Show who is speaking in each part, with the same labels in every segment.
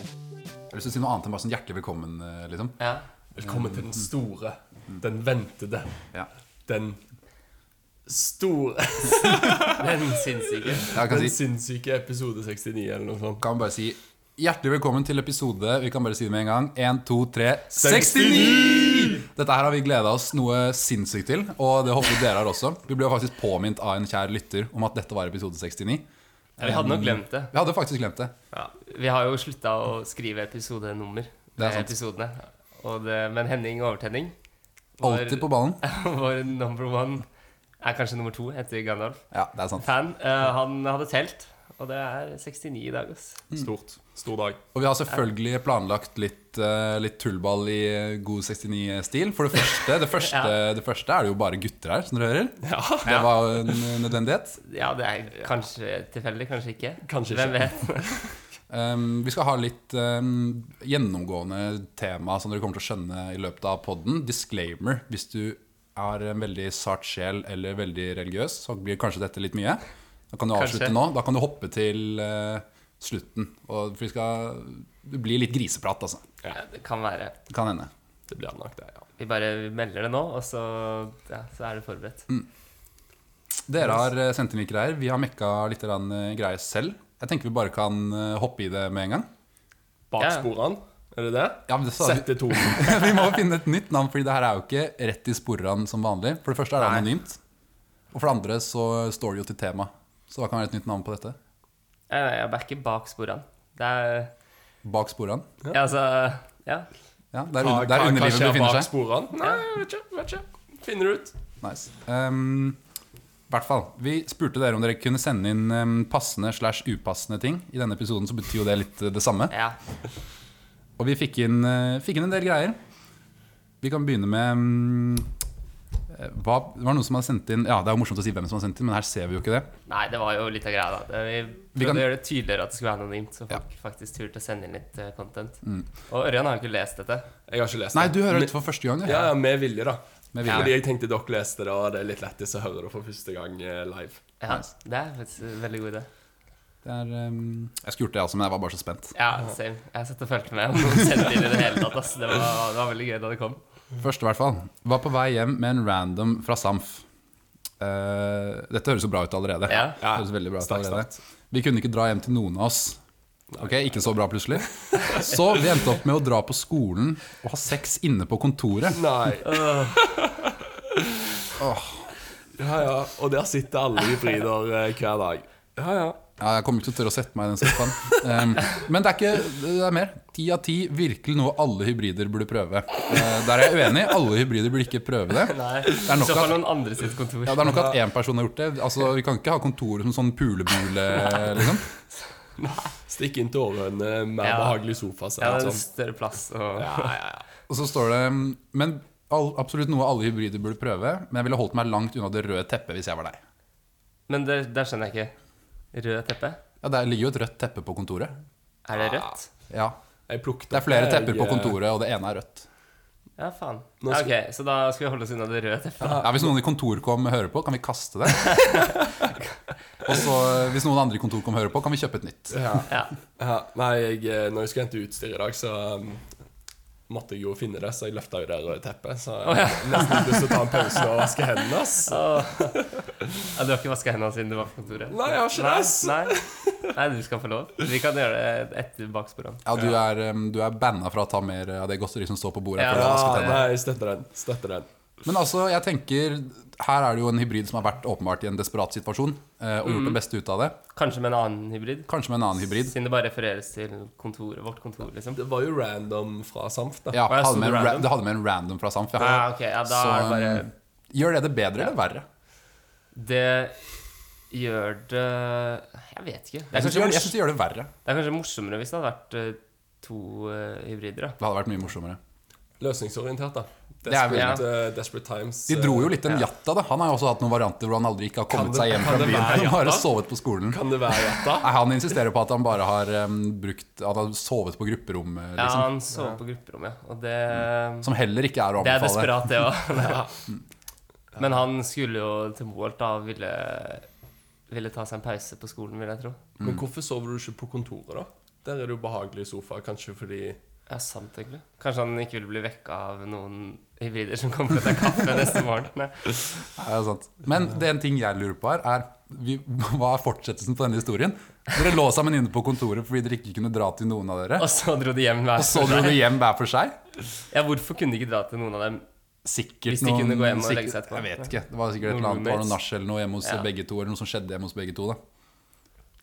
Speaker 1: lyst til å si noe annet enn bare sånn hjertelig velkommen, eh, liksom.
Speaker 2: Ja.
Speaker 3: Velkommen til
Speaker 1: Mm.
Speaker 3: den store, den ventede,
Speaker 1: Ja.
Speaker 3: den store
Speaker 2: Den sinnssyke.
Speaker 1: Jeg kan
Speaker 3: Den
Speaker 1: si,
Speaker 3: sinnssyke episode 69 eller noe sånt.
Speaker 1: kan bare si hjertelig velkommen til episode Vi kan bare si det med en gang. 1, 2, 3 69!
Speaker 3: 69!
Speaker 1: Dette her har vi gleda oss noe sinnssykt til, og det håper vi dere har også. Vi ble jo faktisk påminnet av en kjær lytter om at dette var episode 69.
Speaker 2: Ja, vi hadde nok glemt det.
Speaker 1: Vi hadde faktisk glemt det.
Speaker 2: Ja. Vi har jo slutta å skrive episodenummer.
Speaker 1: Det er
Speaker 2: eh,
Speaker 1: sant.
Speaker 2: Episodene. Og det, men Henning Overtenning vår-
Speaker 1: Alltid på ballen.
Speaker 2: Vår number one er kanskje nummer to etter Gandalf.
Speaker 1: Ja, det er sant.
Speaker 2: Fan. eh, han hadde telt, og det er 69 i dag, ass.
Speaker 1: Mm.
Speaker 3: Stort. Stor dag.
Speaker 1: Og vi har selvfølgelig planlagt litt, eh, litt tullball i eh, god 69-stil. For det første, det, første, det første er det jo bare gutter her, som dere hører. Det var jo en nødvendighet.
Speaker 2: Ja, det er kanskje tilfeldig, kanskje ikke.
Speaker 3: Kanskje
Speaker 2: Hvem
Speaker 3: ikke.
Speaker 2: vet?
Speaker 1: Um, vi skal ha litt um, gjennomgående tema som dere kommer til å skjønne i løpet av podden. Disclaimer hvis du er en veldig sart sjel eller veldig religiøs, så blir kanskje dette litt mye. Da kan du avslutte
Speaker 2: Kanskje.
Speaker 1: nå. Da kan du hoppe til eh, slutten. Og, for vi skal, det blir litt griseprat, altså.
Speaker 2: Ja, det kan være.
Speaker 1: Det kan hende.
Speaker 3: Det blir nok det, ja.
Speaker 2: Vi bare melder det nå, og så, ja, så er det forberedt.
Speaker 1: Dere har eh, sendt inn litt greier. Vi har mekka litt grann, eh, greier selv. Jeg tenker vi bare kan eh, hoppe i det med en gang.
Speaker 3: Bak
Speaker 2: Ja.
Speaker 3: sporene, er det det?
Speaker 1: Ja, men det sa
Speaker 3: Sette to.
Speaker 1: vi må finne et nytt navn, Fordi det her er jo ikke rett i sporene som vanlig. For det første er det
Speaker 2: Nei.
Speaker 1: anonymt. Og for det andre så står det jo til tema. Så hva kan være et nytt navn på dette?
Speaker 2: Jeg, jeg backer bak sporene. Det er
Speaker 1: Bak sporene?
Speaker 2: ja. altså Ja.
Speaker 1: Ja, det er,
Speaker 3: Hva,
Speaker 1: un- det
Speaker 3: hva,
Speaker 1: er
Speaker 3: hva
Speaker 1: underlivet
Speaker 3: skjer
Speaker 1: befinner
Speaker 3: bak
Speaker 1: seg.
Speaker 3: sporene? Nei, vet ikke. Vet ikke. Finner du ut.
Speaker 1: Nice. Um, i hvert fall, Vi spurte dere om dere kunne sende inn um, passende slash upassende ting. I denne episoden så betyr jo det litt uh, det samme.
Speaker 2: ja.
Speaker 1: Og vi fikk inn, eh, fikk inn en del greier. Vi kan begynne med mm, eh, hva, Det var noen som hadde sendt inn Ja, det er jo morsomt å si hvem som har sendt inn, men her ser vi jo ikke det.
Speaker 2: Nei, det var jo litt av greia, da. Det- Vi prøvde
Speaker 1: Vi kan-
Speaker 2: å gjøre det tydeligere at det skulle være anonymt, så
Speaker 1: Ja. Mm.
Speaker 2: folk faktisk turte å sende inn litt eh, content. Og Ørjan har jo ikke lest dette.
Speaker 3: Jeg har ikke lest
Speaker 1: Nei,
Speaker 3: det.
Speaker 1: du hører
Speaker 3: Men-
Speaker 1: dette for første gang. du.
Speaker 3: Ja, ja, med vilje, da.
Speaker 1: Med vilje.
Speaker 3: Fordi jeg tenkte dere leste det, og det er litt lættis å høre det for første gang eh, live.
Speaker 2: Ja, Det er faktisk en veldig god idé.
Speaker 1: Det er, ehm, jeg skulle gjort det også, men jeg var bare så spent.
Speaker 2: Ja, same. Jeg satt og fulgte med om noen sendte inn i det hele tatt. Ass. Det, var, det var veldig gøy da det kom.
Speaker 1: Første, i hvert fall. Var på vei hjem med en random fra Samf. Eh, dette høres jo bra ut allerede.
Speaker 2: Ja.
Speaker 1: Det høres veldig bra ut
Speaker 3: Sterkt,
Speaker 1: allerede Vi kunne ikke dra hjem til noen av oss. Ok, Ikke så bra, plutselig. Så vi endte opp med å dra på skolen og ha sex inne på kontoret.
Speaker 3: Nei. Ja, ja. Og der sitter alle hybrider eh, hver dag. Ja, ja.
Speaker 1: Ja, jeg kommer ikke til å tørre å sette meg i den sofaen. Ehm, men det er ikke det er mer. Ti av ti virkelig noe alle hybrider burde prøve. Eh, der er jeg uenig. Alle hybrider burde ikke prøve det.
Speaker 2: Nei,
Speaker 1: er
Speaker 2: I
Speaker 1: nok
Speaker 2: så fall
Speaker 1: at-
Speaker 2: noen andre sitt kontor.
Speaker 1: Ja, Det er nok at én person har gjort det. Altså, Vi kan ikke ha kontoret som sånn pulebule. liksom
Speaker 3: Stikk inn til Årøen, eh, mer
Speaker 2: Ja.
Speaker 3: behagelig sofa. Så,
Speaker 2: Ja, det er
Speaker 3: sånn.
Speaker 2: større plass og
Speaker 3: ja, ja, ja.
Speaker 1: Og så står det Men all, absolutt noe alle hybrider burde prøve. Men jeg ville holdt meg langt unna det røde teppet hvis jeg var deg.
Speaker 2: Men det, der skjønner jeg ikke. Rød teppe?
Speaker 1: Ja, Der ligger jo et rødt teppe på kontoret.
Speaker 2: Er det rødt?
Speaker 1: Ja,
Speaker 3: Jeg plukket
Speaker 1: Det er flere
Speaker 3: opp, jeg,
Speaker 1: tepper på
Speaker 3: eh,
Speaker 1: kontoret, og det ene er rødt.
Speaker 2: Ja, faen.
Speaker 3: Nå
Speaker 2: Ja,
Speaker 3: skal-
Speaker 2: ok, så da skal vi holde oss unna det røde teppet.
Speaker 1: Ja, Hvis noen i kontorkom hører på, kan vi kaste det. Og så hvis noen andre i kontorkom hører på, kan vi kjøpe et nytt.
Speaker 3: Ja.
Speaker 2: Ja.
Speaker 3: Ja. Nei, jeg, eh, når jeg skulle hente utstyr i dag, så um, måtte jeg jo finne det, så jeg løfta jo det røde teppet. Så jeg har nesten ikke lyst til å ta en pause og vaske hendene. ass.
Speaker 2: Ja, du har ikke vaska hendene siden du var på kontoret?
Speaker 3: Nei, jeg har ikke det, ass.
Speaker 2: Nei, nei. nei, du skal få lov. Vi kan gjøre det etter baksporene.
Speaker 1: Ja, Du er, um, du er banna fra å ta mer av det godteriet som står på bordet.
Speaker 2: Ja.
Speaker 1: for å vaske
Speaker 3: Ja,
Speaker 1: tennene.
Speaker 3: nei, jeg støtter den. Støtter den.
Speaker 1: Men altså, jeg tenker her er det jo en hybrid som har vært åpenbart i en desperat situasjon. eh, Og gjort det beste ut av det.
Speaker 2: Kanskje med en annen hybrid?
Speaker 1: Kanskje med en annen hybrid.
Speaker 2: Siden det bare refereres til kontoret, vårt kontor, liksom.
Speaker 3: Det var jo random fra Samf, da.
Speaker 1: Ja,
Speaker 2: Hva er
Speaker 1: hadde med en,
Speaker 2: så
Speaker 1: ra-
Speaker 2: random?
Speaker 1: det hadde med en random fra Samf.
Speaker 2: Ja,
Speaker 1: Ja.
Speaker 2: ok, ja, da
Speaker 1: Så,
Speaker 2: er det bare
Speaker 1: um, gjør det det bedre eller verre?
Speaker 2: Det gjør det Jeg vet
Speaker 1: Jeg
Speaker 2: ikke. Det er
Speaker 1: syns
Speaker 2: kanskje,
Speaker 1: det,
Speaker 2: mors,
Speaker 1: gjør det verre.
Speaker 2: det er kanskje morsommere hvis det hadde vært eh, to eh, hybrider, da.
Speaker 1: Det hadde vært mye morsommere.
Speaker 3: Løsningsorientert, da.
Speaker 1: Det er vel-
Speaker 3: Desperate, eh, Desperate Times. eh,
Speaker 1: De dro jo litt en jatta, da. Han har jo også hatt noen varianter hvor han aldri ikke har
Speaker 3: Kan
Speaker 1: kommet
Speaker 3: det-
Speaker 1: seg hjem
Speaker 3: kan
Speaker 1: fra
Speaker 3: det
Speaker 1: byen.
Speaker 3: være
Speaker 1: Han har
Speaker 3: jatta?
Speaker 1: sovet på skolen.
Speaker 3: Kan det være jatta?
Speaker 1: Nei, han insisterer på at han bare har um, brukt At han har sovet på grupperom, eh,
Speaker 2: Ja,
Speaker 1: liksom. Mm. Sånn
Speaker 2: han sov på grupperommet, ja. Og det
Speaker 1: Som heller ikke er å
Speaker 2: Det er
Speaker 1: anbefale.
Speaker 2: desperat, det òg. Men han skulle jo til Moholt da og ville, ville ta seg en pause
Speaker 1: Mm.
Speaker 2: på skolen, vil jeg tro.
Speaker 3: Men hvorfor sover du ikke på kontoret, da? Der er det jo behagelig sofa, kanskje fordi
Speaker 2: Ja, sant, egentlig. Kanskje han ikke ville bli vekka av noen hybrider som kommer til å ta kaffe neste morgen. Nei.
Speaker 1: Ja, det er sant. Men det en ting jeg lurer på her, er vi, hva er fortsettelsen på denne historien? Dere lå sammen inne på kontoret fordi dere ikke kunne dra til noen av dere.
Speaker 2: Og så dro de hjem hver
Speaker 1: Og så dro dere hjem hver for seg.
Speaker 2: Ja, hvorfor kunne de ikke dra til noen av dem?
Speaker 1: Sikkert
Speaker 2: Hvis de
Speaker 1: noen-
Speaker 2: kunne gå hjem og
Speaker 1: sikkert-
Speaker 2: legge seg etterpå.
Speaker 1: Jeg vet ikke. Det var sikkert et eller
Speaker 2: Noen
Speaker 1: annet, det var noe
Speaker 2: roommates.
Speaker 1: nach eller noe hjemme hos
Speaker 2: Ja.
Speaker 1: begge to. Eller noe som skjedde hjemme hos begge to. da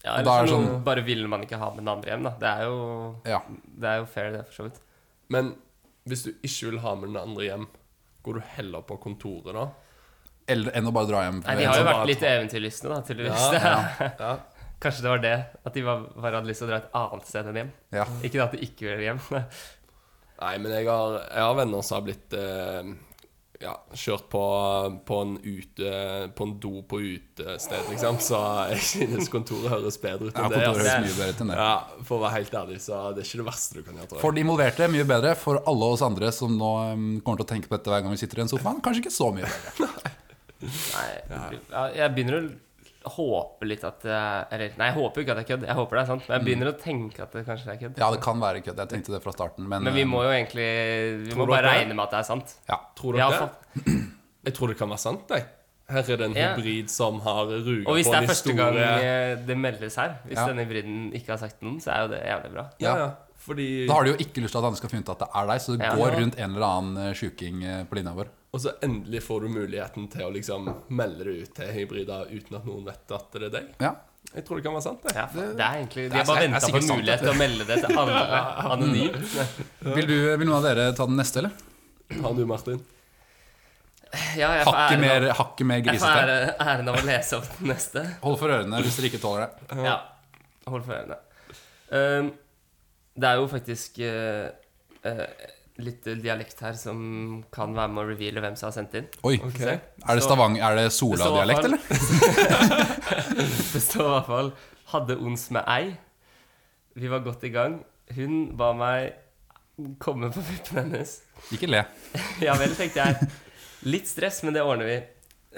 Speaker 2: Ja,
Speaker 1: Og
Speaker 2: eller
Speaker 1: da er det
Speaker 2: sånn,
Speaker 1: sånn-
Speaker 2: Bare ville man ikke ha med den andre hjem, da. Det er jo,
Speaker 1: Ja,
Speaker 2: det er jo fair, det, for så vidt.
Speaker 3: Men hvis du ikke vil ha med den andre hjem, går du heller på kontoret da?
Speaker 1: Eller enn å bare dra hjem.
Speaker 2: Nei, De har jo vært litt eventyrlystne, da, tydeligvis.
Speaker 3: Ja.
Speaker 2: Kanskje det var det. At de var, bare hadde lyst til å dra et annet sted enn hjem.
Speaker 1: Ja.
Speaker 2: Ikke at de ikke ville hjem.
Speaker 3: Nei, men jeg har, jeg har venner som har blitt eh, ja, kjørt på, på en ute På en do på utested, liksom. Så jeg synes kontoret høres bedre ut
Speaker 1: Ja,
Speaker 3: enn det.
Speaker 1: kontoret
Speaker 3: Altså.
Speaker 1: høres mye bedre ut enn det.
Speaker 3: Ja, For å være helt ærlig, så det er ikke det verste du kan gjøre. Tror jeg.
Speaker 1: For de involverte, mye bedre. For alle oss andre som nå em, kommer til å tenke på dette hver gang vi sitter i en sofa, kanskje ikke så mye. bedre.
Speaker 2: Nei, ja, jeg begynner å håpe litt at jeg- Eller nei, jeg håper jo ikke at det er kødd. Jeg håper det er sant. Men jeg begynner å tenke at det kanskje er kødd.
Speaker 1: Ja, det kan være kødd. Jeg tenkte det fra starten, men,
Speaker 2: Men vi
Speaker 1: em,
Speaker 2: må jo egentlig Vi må
Speaker 3: Tror
Speaker 2: bare
Speaker 3: dere-
Speaker 2: regne med at det er sant.
Speaker 1: ja.
Speaker 3: Tror
Speaker 2: Ja,
Speaker 3: dere det?
Speaker 2: fatt-
Speaker 3: Jeg tror det kan være sant, jeg. Her er det en
Speaker 2: Ja.
Speaker 3: hybrid som har ruga
Speaker 2: Og
Speaker 3: på en
Speaker 2: hvis det er første gang
Speaker 3: historie.
Speaker 2: eh, det meldes her, hvis
Speaker 1: Ja.
Speaker 2: denne hybriden ikke har sagt noen, så er jo det jævlig bra.
Speaker 3: Ja, ja. Fordi
Speaker 1: Da har de jo ikke lyst til at andre skal finne ut at det er deg, så det
Speaker 2: Ja.
Speaker 1: går rundt en eller annen eh, sjuking eh, på linja vår.
Speaker 3: Og så endelig får du muligheten til å liksom melde det ut til hybrider uten at noen vet at det er deg.
Speaker 1: Ja.
Speaker 3: Jeg tror det kan være sant, det.
Speaker 2: Ja, faen, det er egentlig, De
Speaker 1: det
Speaker 2: har
Speaker 1: er-
Speaker 2: bare
Speaker 1: det er
Speaker 2: venta på
Speaker 1: sikkert sant,
Speaker 2: mulighet til å melde det til alle anonymt.
Speaker 1: Vil, du, vil noen av dere ta den neste, eller?
Speaker 3: Har du, Martin?
Speaker 2: Ja, jeg får
Speaker 1: Hakket
Speaker 2: æren av-
Speaker 1: mer, hakket mer
Speaker 2: jeg får
Speaker 1: grisete.
Speaker 2: ære- æren av å lese opp den neste.
Speaker 1: Hold for ørene hvis dere ikke tåler det.
Speaker 2: Ja, hold for ørene. Um, det er jo faktisk eh, eh, litt dialekt her som kan være med å reveale hvem som har sendt inn.
Speaker 1: Oi,
Speaker 3: Ok.
Speaker 1: Er det
Speaker 2: Så-
Speaker 1: Stavang, er det
Speaker 2: Så-
Speaker 1: Sola-dialekt, eller?
Speaker 2: Det står i hvert fall 'Hadde ons med ei'. Vi var godt i gang. Hun ba meg komme på puppen hennes.
Speaker 1: Ikke le.
Speaker 2: Ja vel, tenkte jeg. Litt stress, men det ordner vi.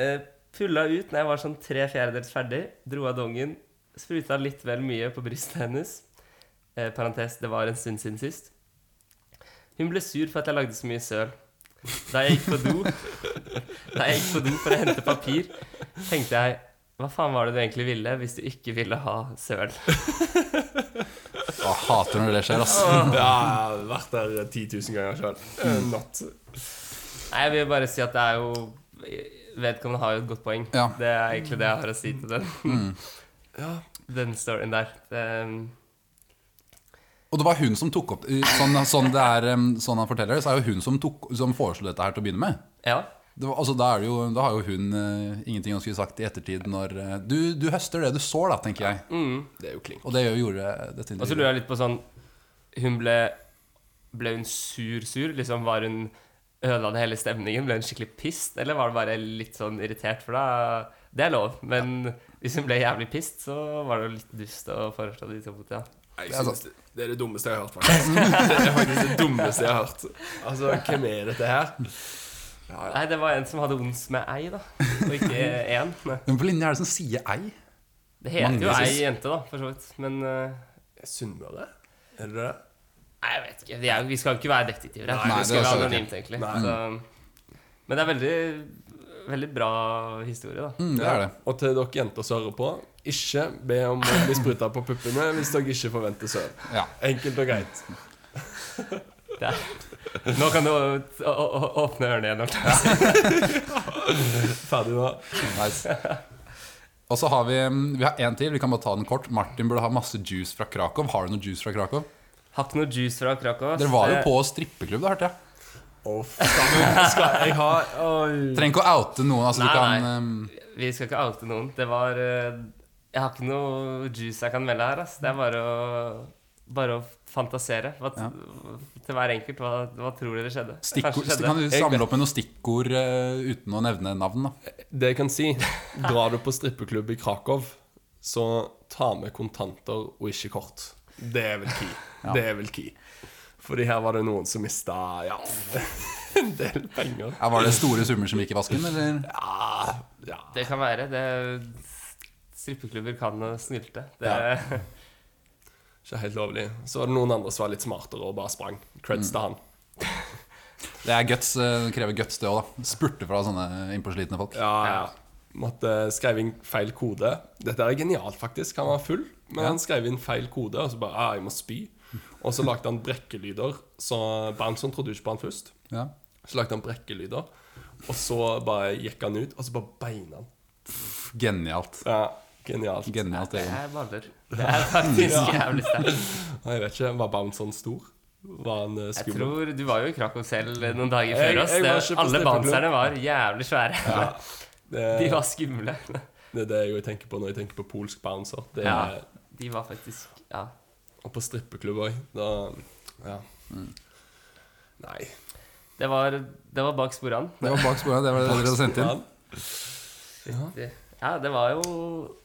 Speaker 2: Eh, pulla ut når jeg var sånn tre fjerdedels ferdig. Dro av dongen. Spruta litt vel mye på brystet hennes. Eh, parentes, det var en stund siden sist. Hun ble sur for at jeg lagde så mye søl. Da jeg gikk på do Da jeg gikk på do for å hente papir, tenkte jeg Hva faen var det du egentlig ville hvis du ikke ville ha søl?
Speaker 1: Å, hater når det skjer, ass.
Speaker 3: Ja, jeg har vært der 10 000 ganger sjøl. Eh, Not.
Speaker 2: Nei, jeg vil bare si at det er jo Vedkommende har jo et godt poeng.
Speaker 1: Ja.
Speaker 2: Det er egentlig det jeg har å si til den.
Speaker 3: Ja.
Speaker 2: Den storyen der. Ehm, Det,
Speaker 1: Og det var hun som tok opp Sånn, sånn, det er, em, sånn han forteller det, så er jo hun som, tok, som foreslo dette her til å begynne med.
Speaker 2: ja.
Speaker 1: Det var, altså, da, er det jo, da har jo hun eh, ingenting hun skulle sagt i ettertid når eh, du, du høster det du sår, da, tenker jeg.
Speaker 2: Mm.
Speaker 3: Det er jo klink.
Speaker 1: Og det gjorde dette
Speaker 2: Og så
Speaker 1: intervjuet.
Speaker 2: lurer jeg litt på sånn Hun ble Ble hun sur-sur? Liksom var hun Ødela det hele stemningen? Ble hun skikkelig pissed? Eller var det bare litt sånn irritert? For da Det er lov. Men hvis hun ble jævlig pissed, så var det jo litt dust å foreslå de to mot ja.
Speaker 3: Jeg
Speaker 1: Det er
Speaker 3: synes det, det er det dummeste jeg har hørt, faktisk. Det er faktisk det dummeste jeg har hørt. Altså, hvem er dette her?
Speaker 2: Nei, det var en som hadde ons med ei, da. Og ikke én.
Speaker 1: Hvem på linja er det som sier ei?
Speaker 2: Det heter jo
Speaker 1: Mange
Speaker 2: ei
Speaker 1: synes-
Speaker 2: jente, da, for så vidt. Men eh,
Speaker 3: Sunnmøre? Er det det?
Speaker 2: Nei, jeg vet ikke. Vi, er, vi skal jo ikke være detektiver her.
Speaker 1: Nei,
Speaker 2: vi skal
Speaker 1: det er
Speaker 2: være
Speaker 1: sant.
Speaker 2: anonymt, egentlig.
Speaker 3: Nei.
Speaker 2: Så, men det er veldig, veldig bra historie, da.
Speaker 1: Mm, det er det.
Speaker 3: Og til dere jenter som hører på, ikke be om å bli spruta på puppene hvis dere ikke forventer søvn.
Speaker 1: Ja.
Speaker 3: Enkelt og greit.
Speaker 2: Der. Nå kan du å- å- å- åpne ørene igjen. Arthur.
Speaker 3: Ferdig nå.
Speaker 1: Nice. Og så har vi mm, Vi har én til. Vi kan bare ta den kort. Martin burde ha masse juice fra Krakow. Har du noe juice fra Krakow?
Speaker 2: Har ikke noe juice fra Krakow. ass.
Speaker 1: Dere var jo
Speaker 2: Det-
Speaker 1: på strippeklubb, da, hørte jeg.
Speaker 3: Å, skal, skal jeg ha Oi.
Speaker 1: Trenger ikke å oute noen. Altså,
Speaker 2: Nei,
Speaker 1: du kan em,
Speaker 2: Vi skal ikke oute noen. Det var eh, Jeg har ikke noe juice jeg kan melde her. Ass. Det er bare å, bare å fantasere. Hva, t-
Speaker 1: Ja.
Speaker 2: Til hver enkelt. Hva, hva tror dere skjedde?
Speaker 1: stikkord,
Speaker 2: Kanskje
Speaker 1: Kan
Speaker 2: skjedde.
Speaker 1: du samle opp med noen stikkord eh, uten å nevne navn, da?
Speaker 3: Det jeg kan si, drar du på strippeklubb i Krakow, så ta med kontanter og ikke kort. Det er vel key. Det er vel key. Fordi her var det noen som mista ja, en del penger.
Speaker 1: Ja, var det store summer som gikk i vasken, eller?
Speaker 3: Ja, ja.
Speaker 2: Det kan være. Det, strippeklubber kan snylte. Det,
Speaker 3: Ja. Ikke helt lovlig. Så var det noen andre som var litt smartere og bare sprang. Creds
Speaker 1: Mm.
Speaker 3: til han.
Speaker 1: Det er guts, eh, krever guts, det òg, da. Spurte fra sånne innpåslitne folk.
Speaker 3: Ja, ja. Måtte skrev inn feil kode. Dette er genialt, faktisk. Han var full, men han skrev inn feil kode, og så bare ah, 'Jeg må spy'. Og så lagde han brekkelyder. Så Berntson trodde ikke på han først.
Speaker 1: Ja.
Speaker 3: Så lagde han brekkelyder, og så bare gikk han ut, og så bare beina han.
Speaker 1: Pff, Genialt.
Speaker 3: Ja, genialt.
Speaker 1: Genialt
Speaker 2: Det
Speaker 1: egentlig.
Speaker 2: er baller. Det er faktisk jævlig sterkt.
Speaker 3: Jeg vet ikke, Var Berntson stor? Var han eh,
Speaker 2: Jeg
Speaker 3: skummel?
Speaker 2: tror Du var jo i Krakow selv noen dager
Speaker 3: Jeg-
Speaker 2: før oss.
Speaker 3: jeg var ikke
Speaker 2: Det,
Speaker 3: på
Speaker 2: alle
Speaker 3: steppeklubb.
Speaker 2: bouncerne var jævlig svære.
Speaker 3: Ja. Det,
Speaker 2: De var skumle.
Speaker 3: det er det jeg tenker på når jeg tenker på polsk bouncer. Det
Speaker 2: Ja.
Speaker 3: er,
Speaker 2: De var faktisk Ja.
Speaker 3: Og på strippeklubb òg. Da Ja.
Speaker 2: Mm.
Speaker 3: Nei.
Speaker 2: Det var, det var bak sporene.
Speaker 1: Det var bak sporet. Det var det dere sendte inn.
Speaker 2: Det- Ja, det var jo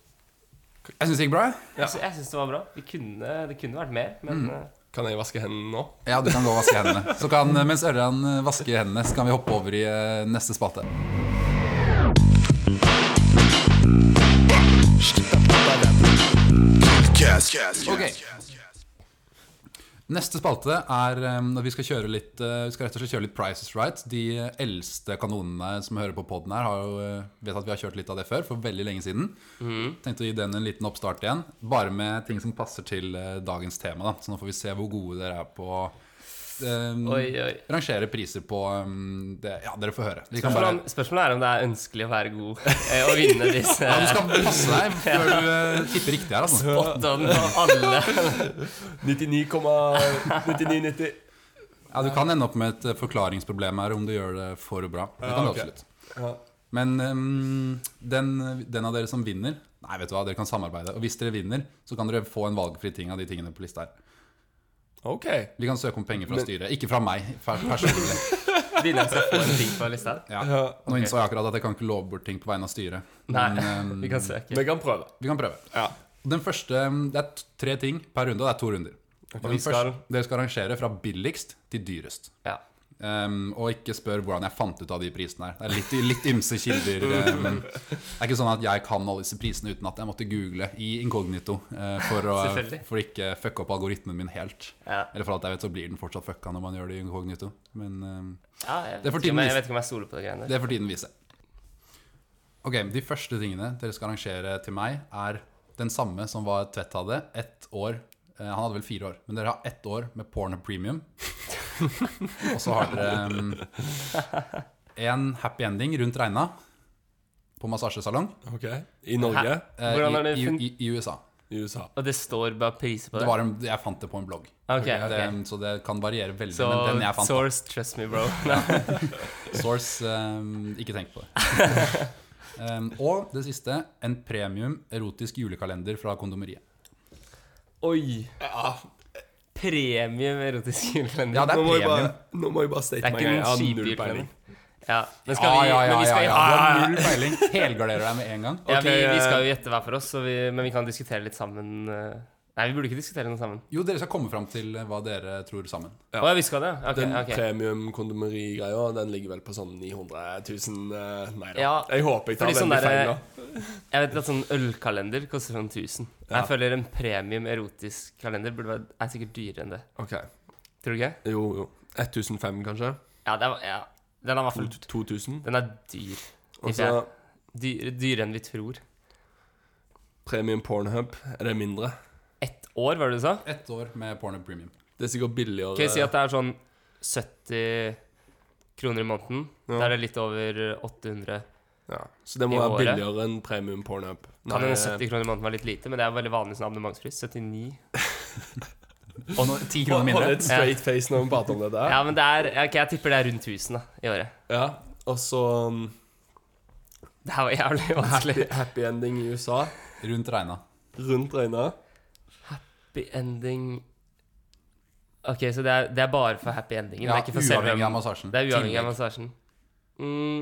Speaker 1: Jeg syns det gikk bra. jeg.
Speaker 3: Ja.
Speaker 2: Jeg sy- jeg syns det var bra. Vi kunne, det kunne vært mer, men
Speaker 1: Mm.
Speaker 2: eh,
Speaker 3: Kan jeg vaske hendene nå?
Speaker 1: Ja, du kan gå og vaske hendene. Så kan, mens Ørjan eh, vasker hendene, så kan vi hoppe over i eh, neste spalte. Ok. Neste spalte er um, at vi skal kjøre litt eh, Vi skal rett og slett kjøre litt Price is Right. De eh, eldste kanonene som hører på podden her, har jo, eh, vet at vi har kjørt litt av det før, for veldig lenge siden. Tenkte å gi den en liten oppstart igjen, bare med ting som passer til eh, dagens tema. Da. Så nå får vi se hvor gode dere er på å eh,
Speaker 2: oi, oi.
Speaker 1: rangere priser på um, det. Ja, dere får høre. Vi kan
Speaker 2: Spørsmålet,
Speaker 1: bare
Speaker 2: om, spørsmålet er om det er ønskelig å være god eh, og vinne disse
Speaker 1: ja, Du skal passe deg før du eh, tipper riktig her, altså.
Speaker 2: åttene og alle.
Speaker 3: 99,9990.
Speaker 1: Ja, Du kan ende opp med et eh, forklaringsproblem her om du gjør det for bra. Det kan
Speaker 3: Ja,
Speaker 1: du
Speaker 3: ok.
Speaker 1: absolutt.
Speaker 3: Ja.
Speaker 1: Men ehm, den, den av dere som vinner Nei, vet du hva, dere kan samarbeide. Og hvis dere vinner, så kan dere få en valgfri ting av de tingene på lista her.
Speaker 3: OK.
Speaker 1: Vi kan søke om penger fra
Speaker 3: Men-
Speaker 1: styret. Ikke fra meg per- personlig.
Speaker 2: Vinneren skal få en ting på lista.
Speaker 1: Ja.
Speaker 3: Ja.
Speaker 1: Nå innså jeg akkurat at jeg kan ikke love bort ting på vegne av styret.
Speaker 2: Nei,
Speaker 1: ehm,
Speaker 2: vi kan søke.
Speaker 3: Vi kan prøve.
Speaker 1: vi kan prøve.
Speaker 3: Ja.
Speaker 1: Den første, Det er t- tre ting per runde, og det er to runder. Og
Speaker 3: vi
Speaker 1: den første,
Speaker 3: skal-
Speaker 1: dere skal rangere fra billigst til dyrest.
Speaker 2: Ja.
Speaker 1: Ehm, og ikke spør hvordan jeg fant ut av de prisene her. Det er litt, litt ymse kilder. eh, men det er ikke sånn at jeg kan alle disse prisene uten at jeg måtte google i inkognito eh, for å
Speaker 2: Selvfølgelig.
Speaker 1: for å ikke fucke opp algoritmen min helt.
Speaker 2: Ja.
Speaker 1: Eller for alt jeg vet, så blir den fortsatt fucka når man gjør det i inkognito. Men ehm,
Speaker 2: Ja, jeg,
Speaker 1: Det
Speaker 2: vet
Speaker 1: får
Speaker 2: ikke
Speaker 1: tiden
Speaker 2: om jeg,
Speaker 1: vise.
Speaker 2: jeg vet ikke om jeg stoler på de greiene der.
Speaker 1: det får tiden vise. Ok, De første tingene dere skal arrangere til meg, er den samme som var Tvedt hadde. Ett år eh, Han hadde vel fire år, men dere har ett år med Pornhub Premium. Og så har dere én happy ending rundt regna på massasjesalong
Speaker 3: OK. I Norge?
Speaker 1: eh,
Speaker 2: Hvordan har
Speaker 1: i,
Speaker 2: dere
Speaker 1: i,
Speaker 2: funnet-
Speaker 1: i, i USA.
Speaker 3: I USA.
Speaker 2: Og det står bare priser på
Speaker 1: Det
Speaker 2: det?
Speaker 1: var en, jeg fant det på en blogg,
Speaker 2: Ok,
Speaker 1: Det,
Speaker 2: ok.
Speaker 1: så det kan variere veldig.
Speaker 2: Så
Speaker 1: men den jeg fant,
Speaker 2: source, trust me, bro.
Speaker 1: Source, ehm, ikke tenk på det. Ehm, og det siste, en premium erotisk julekalender fra kondomeriet.
Speaker 2: Oi.
Speaker 3: Ja,
Speaker 2: Premium erotisk julekalender.
Speaker 1: Ja, det er
Speaker 3: nå, må jeg
Speaker 1: premium.
Speaker 3: bare, nå må jeg bare
Speaker 2: Det
Speaker 3: state
Speaker 2: er
Speaker 3: meg
Speaker 2: ikke
Speaker 3: Jeg
Speaker 2: en
Speaker 3: har
Speaker 2: kjip
Speaker 3: null peiling.
Speaker 2: julekalender. Ja, men skal
Speaker 1: Ja,
Speaker 2: vi,
Speaker 1: ja, ja,
Speaker 2: men vi skal
Speaker 1: ja,
Speaker 2: ha
Speaker 1: ja. Du har null peiling. Helgarderer deg med en gang.
Speaker 2: Ja,
Speaker 3: Ok,
Speaker 2: vi, vi
Speaker 3: eh,
Speaker 2: skal jo gjette hver for oss, så vi, men vi kan diskutere litt sammen. eh. Nei, vi burde ikke diskutere noe sammen.
Speaker 1: Jo, dere skal komme fram til hva dere tror sammen.
Speaker 2: Å
Speaker 3: Ja.
Speaker 2: ja, vi skal det? ja. Ok,
Speaker 3: Den
Speaker 2: ok.
Speaker 3: premium-kondomerigreia, den ligger vel på sånn 900 000 eh, Nei da.
Speaker 2: Ja,
Speaker 3: Jeg håper jeg tar
Speaker 2: fordi sånn
Speaker 3: veldig
Speaker 2: der-
Speaker 3: feil nå.
Speaker 2: Jeg vet at sånn ølkalender koster sånn 1000.
Speaker 3: Ja.
Speaker 2: Jeg føler en premium erotisk kalender burde være, er sikkert dyrere enn det.
Speaker 3: OK.
Speaker 2: Tror du ikke?
Speaker 3: Jo, jo. 1005, kanskje?
Speaker 2: Ja, det er, ja. den er i hvert fall
Speaker 3: 2000?
Speaker 2: Den er dyr.
Speaker 3: Og
Speaker 2: tipper
Speaker 3: så
Speaker 2: jeg. Dyr, dyrere enn vi tror.
Speaker 3: premium pornhub. Er det mindre?
Speaker 2: Ett år, var det du sa?
Speaker 1: Ett år med Pornhub Premium.
Speaker 3: Det er sikkert billigere.
Speaker 2: Kan jeg si at det er sånn 70 kroner i måneden?
Speaker 3: Ja.
Speaker 2: Da er det litt over 800.
Speaker 3: Ja, Så det må
Speaker 2: I
Speaker 3: være
Speaker 2: året.
Speaker 3: billigere enn premium pornhub.
Speaker 2: Kan
Speaker 3: Nei,
Speaker 2: hende 70 kroner i måneden var litt lite, men det er veldig vanlig sånn abonnementspris. 79.
Speaker 1: Og nå, ti kroner
Speaker 3: Hold
Speaker 1: mindre.
Speaker 3: et straight face når vi prater om det der.
Speaker 2: Ja, men det er ok, Jeg tipper det er rundt 1000 da, i året.
Speaker 3: Ja, Og så um,
Speaker 2: Det her var jævlig
Speaker 3: happy,
Speaker 2: vanskelig.
Speaker 3: happy ending i USA.
Speaker 1: Rundt regna.
Speaker 3: Rundt regna.
Speaker 2: Happy ending Ok, så det er, det er bare for happy endingen?
Speaker 1: Ja,
Speaker 2: det er ikke for selve
Speaker 1: uavhengig av massasjen.
Speaker 2: Det er uavhengig av
Speaker 1: Tillegg.
Speaker 2: massasjen. Mm.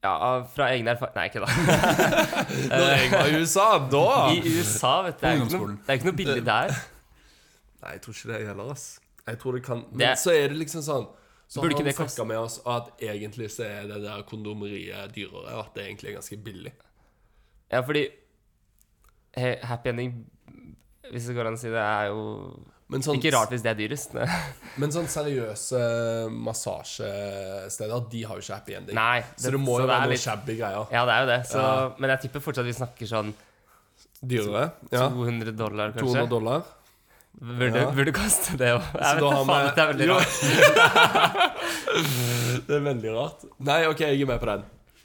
Speaker 2: Ja, av- fra egen erfaring Nei, ikke da.
Speaker 3: Når jeg var i USA, da
Speaker 2: I USA, vet du. Det er jo ikke noe,
Speaker 1: Ungdomsskolen.
Speaker 2: det er ikke noe billig der.
Speaker 3: Nei, jeg tror ikke det heller, ass. Jeg tror det kan Men
Speaker 2: Det-
Speaker 3: så er det liksom sånn så
Speaker 2: Burde ikke
Speaker 3: har han
Speaker 2: det
Speaker 3: snakka
Speaker 2: koste-
Speaker 3: med oss at egentlig så er det der kondomeriet dyrere, og at det egentlig er ganske billig.
Speaker 2: Ja, fordi he- happy ending Hvis det går an å si det, er jo
Speaker 3: Men sånn,
Speaker 2: ikke rart hvis det er dyrest. Nei,
Speaker 3: Men sånn seriøse massasjesteder, de har jo ikke happy ending.
Speaker 2: Nei,
Speaker 3: så det må
Speaker 2: så det
Speaker 3: jo
Speaker 2: er
Speaker 3: være noen
Speaker 2: litt-
Speaker 3: shabby greier.
Speaker 2: Ja, det er jo det. Så,
Speaker 3: Ja.
Speaker 2: Men jeg tipper fortsatt vi snakker sånn
Speaker 3: Dyrere. Ja.
Speaker 2: 200 dollar, kanskje.
Speaker 3: 200 dollar.
Speaker 2: Burde,
Speaker 3: Ja.
Speaker 2: burde kaste det òg. Jeg vet
Speaker 3: da
Speaker 2: da
Speaker 3: har
Speaker 2: faen
Speaker 3: vi-
Speaker 2: at det er veldig
Speaker 3: Jo.
Speaker 2: rart.
Speaker 3: Det er veldig rart. Nei, OK, jeg er med på den.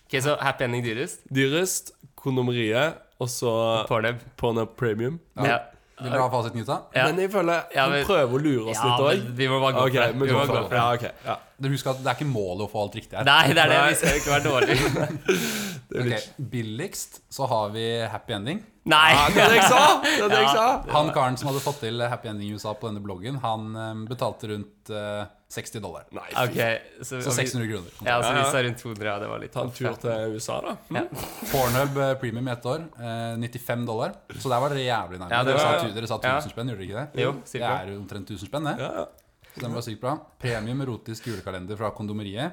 Speaker 2: Ok, Så happy ending dyrest?
Speaker 3: Dyrest, kondomeriet, og så
Speaker 2: Pornhub.
Speaker 3: Pornhub Premium.
Speaker 2: Ja.
Speaker 1: Vil dere ha fasiten, gutta?
Speaker 2: Ja.
Speaker 3: Men jeg føler
Speaker 2: Ja,
Speaker 3: hun
Speaker 2: men-
Speaker 3: prøver å lure oss
Speaker 2: Ja,
Speaker 3: litt òg.
Speaker 2: men vi må bare gå for
Speaker 3: OK,
Speaker 2: det.
Speaker 3: vi
Speaker 2: Vi må
Speaker 3: går for
Speaker 2: gå
Speaker 3: det.
Speaker 2: for det.
Speaker 3: Ja, ok, ja.
Speaker 1: Dere husker at det er ikke målet å få alt riktig her.
Speaker 2: Nei, det er det. Vi
Speaker 3: Nei.
Speaker 2: skal jo ikke være dårlige.
Speaker 3: Det er
Speaker 1: Ok,
Speaker 3: litt-
Speaker 1: Billigst så har vi happy ending.
Speaker 2: Nei!
Speaker 3: Ja, det er det jeg sa! Det er det jeg
Speaker 2: Ja.
Speaker 3: sa.
Speaker 1: Han karen som hadde fått til happy ending i USA på denne bloggen, han eh, betalte rundt eh, 60 dollar.
Speaker 3: Nei, fy
Speaker 2: Ok, så,
Speaker 1: Så
Speaker 2: og vi-
Speaker 1: 600 kroner.
Speaker 2: Ja, så
Speaker 3: Ja, ja.
Speaker 2: vi sa rundt 200. Ja, det var litt
Speaker 3: Ta en
Speaker 2: topp,
Speaker 3: tur
Speaker 2: ja.
Speaker 3: til USA, da.
Speaker 2: Mm.
Speaker 1: Pornhub eh, premium i ett år, eh, 95 dollar. Så der var dere jævlig nærme.
Speaker 2: Ja, det
Speaker 1: dere,
Speaker 2: var-
Speaker 1: sa, tu- dere sa
Speaker 2: ja.
Speaker 1: 1000 spenn, gjorde dere ikke det?
Speaker 2: Jo,
Speaker 1: det
Speaker 2: cirka.
Speaker 1: er jo omtrent 1000 spenn, det.
Speaker 3: Ja, ja.
Speaker 1: Så den var sykt bra. Premium erotisk julekalender fra kondomeriet,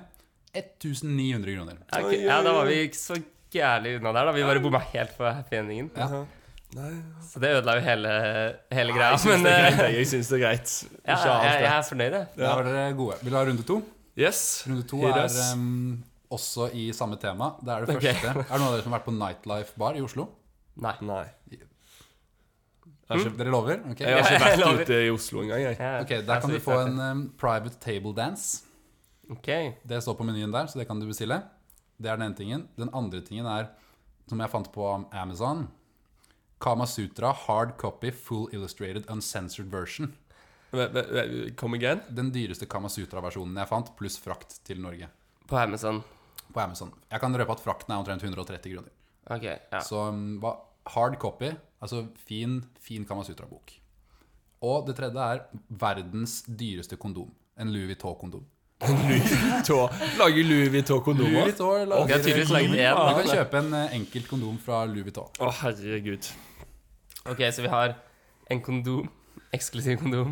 Speaker 1: 1900 kroner.
Speaker 2: Ja, ok. ja, da var vi ikke så gærlig unna der, da. Vi bare bomma helt på happy endingen.
Speaker 1: Ja.
Speaker 3: Nei,
Speaker 2: Så det ødela jo hele, hele greia.
Speaker 3: jeg
Speaker 2: Men
Speaker 3: syns det er
Speaker 2: eh,
Speaker 3: greit. jeg. Jeg syns det er greit.
Speaker 2: ja,
Speaker 3: Ikke
Speaker 2: jeg,
Speaker 3: alt
Speaker 2: jeg
Speaker 3: det.
Speaker 2: er fornøyd, jeg.
Speaker 1: Da var dere gode. Vil du ha runde to?
Speaker 3: Yes.
Speaker 1: Runde to
Speaker 3: Hit
Speaker 1: er
Speaker 3: us.
Speaker 2: eh,
Speaker 1: em, også i samme tema. Det er det
Speaker 2: Ok.
Speaker 1: første. Er det noen av dere som har vært på Nightlife Bar i Oslo?
Speaker 2: Nei.
Speaker 3: Nei.
Speaker 1: Dere lover? Ok,
Speaker 3: Jeg har
Speaker 2: Ja, jeg
Speaker 3: ikke
Speaker 2: lover.
Speaker 3: vært ute i Oslo engang, jeg.
Speaker 2: Ja,
Speaker 1: Ok,
Speaker 2: det er
Speaker 1: Der kan
Speaker 2: så
Speaker 1: du
Speaker 2: vidt
Speaker 1: få
Speaker 2: jeg
Speaker 1: en em, private table dance.
Speaker 2: vet. Ok.
Speaker 1: Det står på menyen der, så det kan du bestille. Det er den ene tingen. Den andre tingen er, som jeg fant på Amazon Kama Sutra hard copy full illustrated uncensored version.
Speaker 3: Ve- ve- ve- Come again?
Speaker 1: Den dyreste Kama Sutra-versjonen jeg fant, pluss frakt til Norge.
Speaker 2: På Amazon.
Speaker 1: På Amazon. Jeg kan røpe at frakten er omtrent 130 kroner.
Speaker 2: Ok, ja.
Speaker 1: Så um, hva, hard copy, altså fin, fin Kama Sutra-bok. Og det tredje er verdens dyreste kondom. En Louis Vuitton-kondom.
Speaker 3: Tå. Lager Louis Vuitton-kondomer?
Speaker 1: Louis Vuitton
Speaker 2: Ok, jeg
Speaker 1: lager
Speaker 2: har tydeligvis laget en,
Speaker 1: Du
Speaker 2: da.
Speaker 1: kan kjøpe en eh, enkelt kondom fra Louis Vuitton.
Speaker 3: Å, herregud.
Speaker 2: Ok, så vi har en kondom, eksklusiv kondom,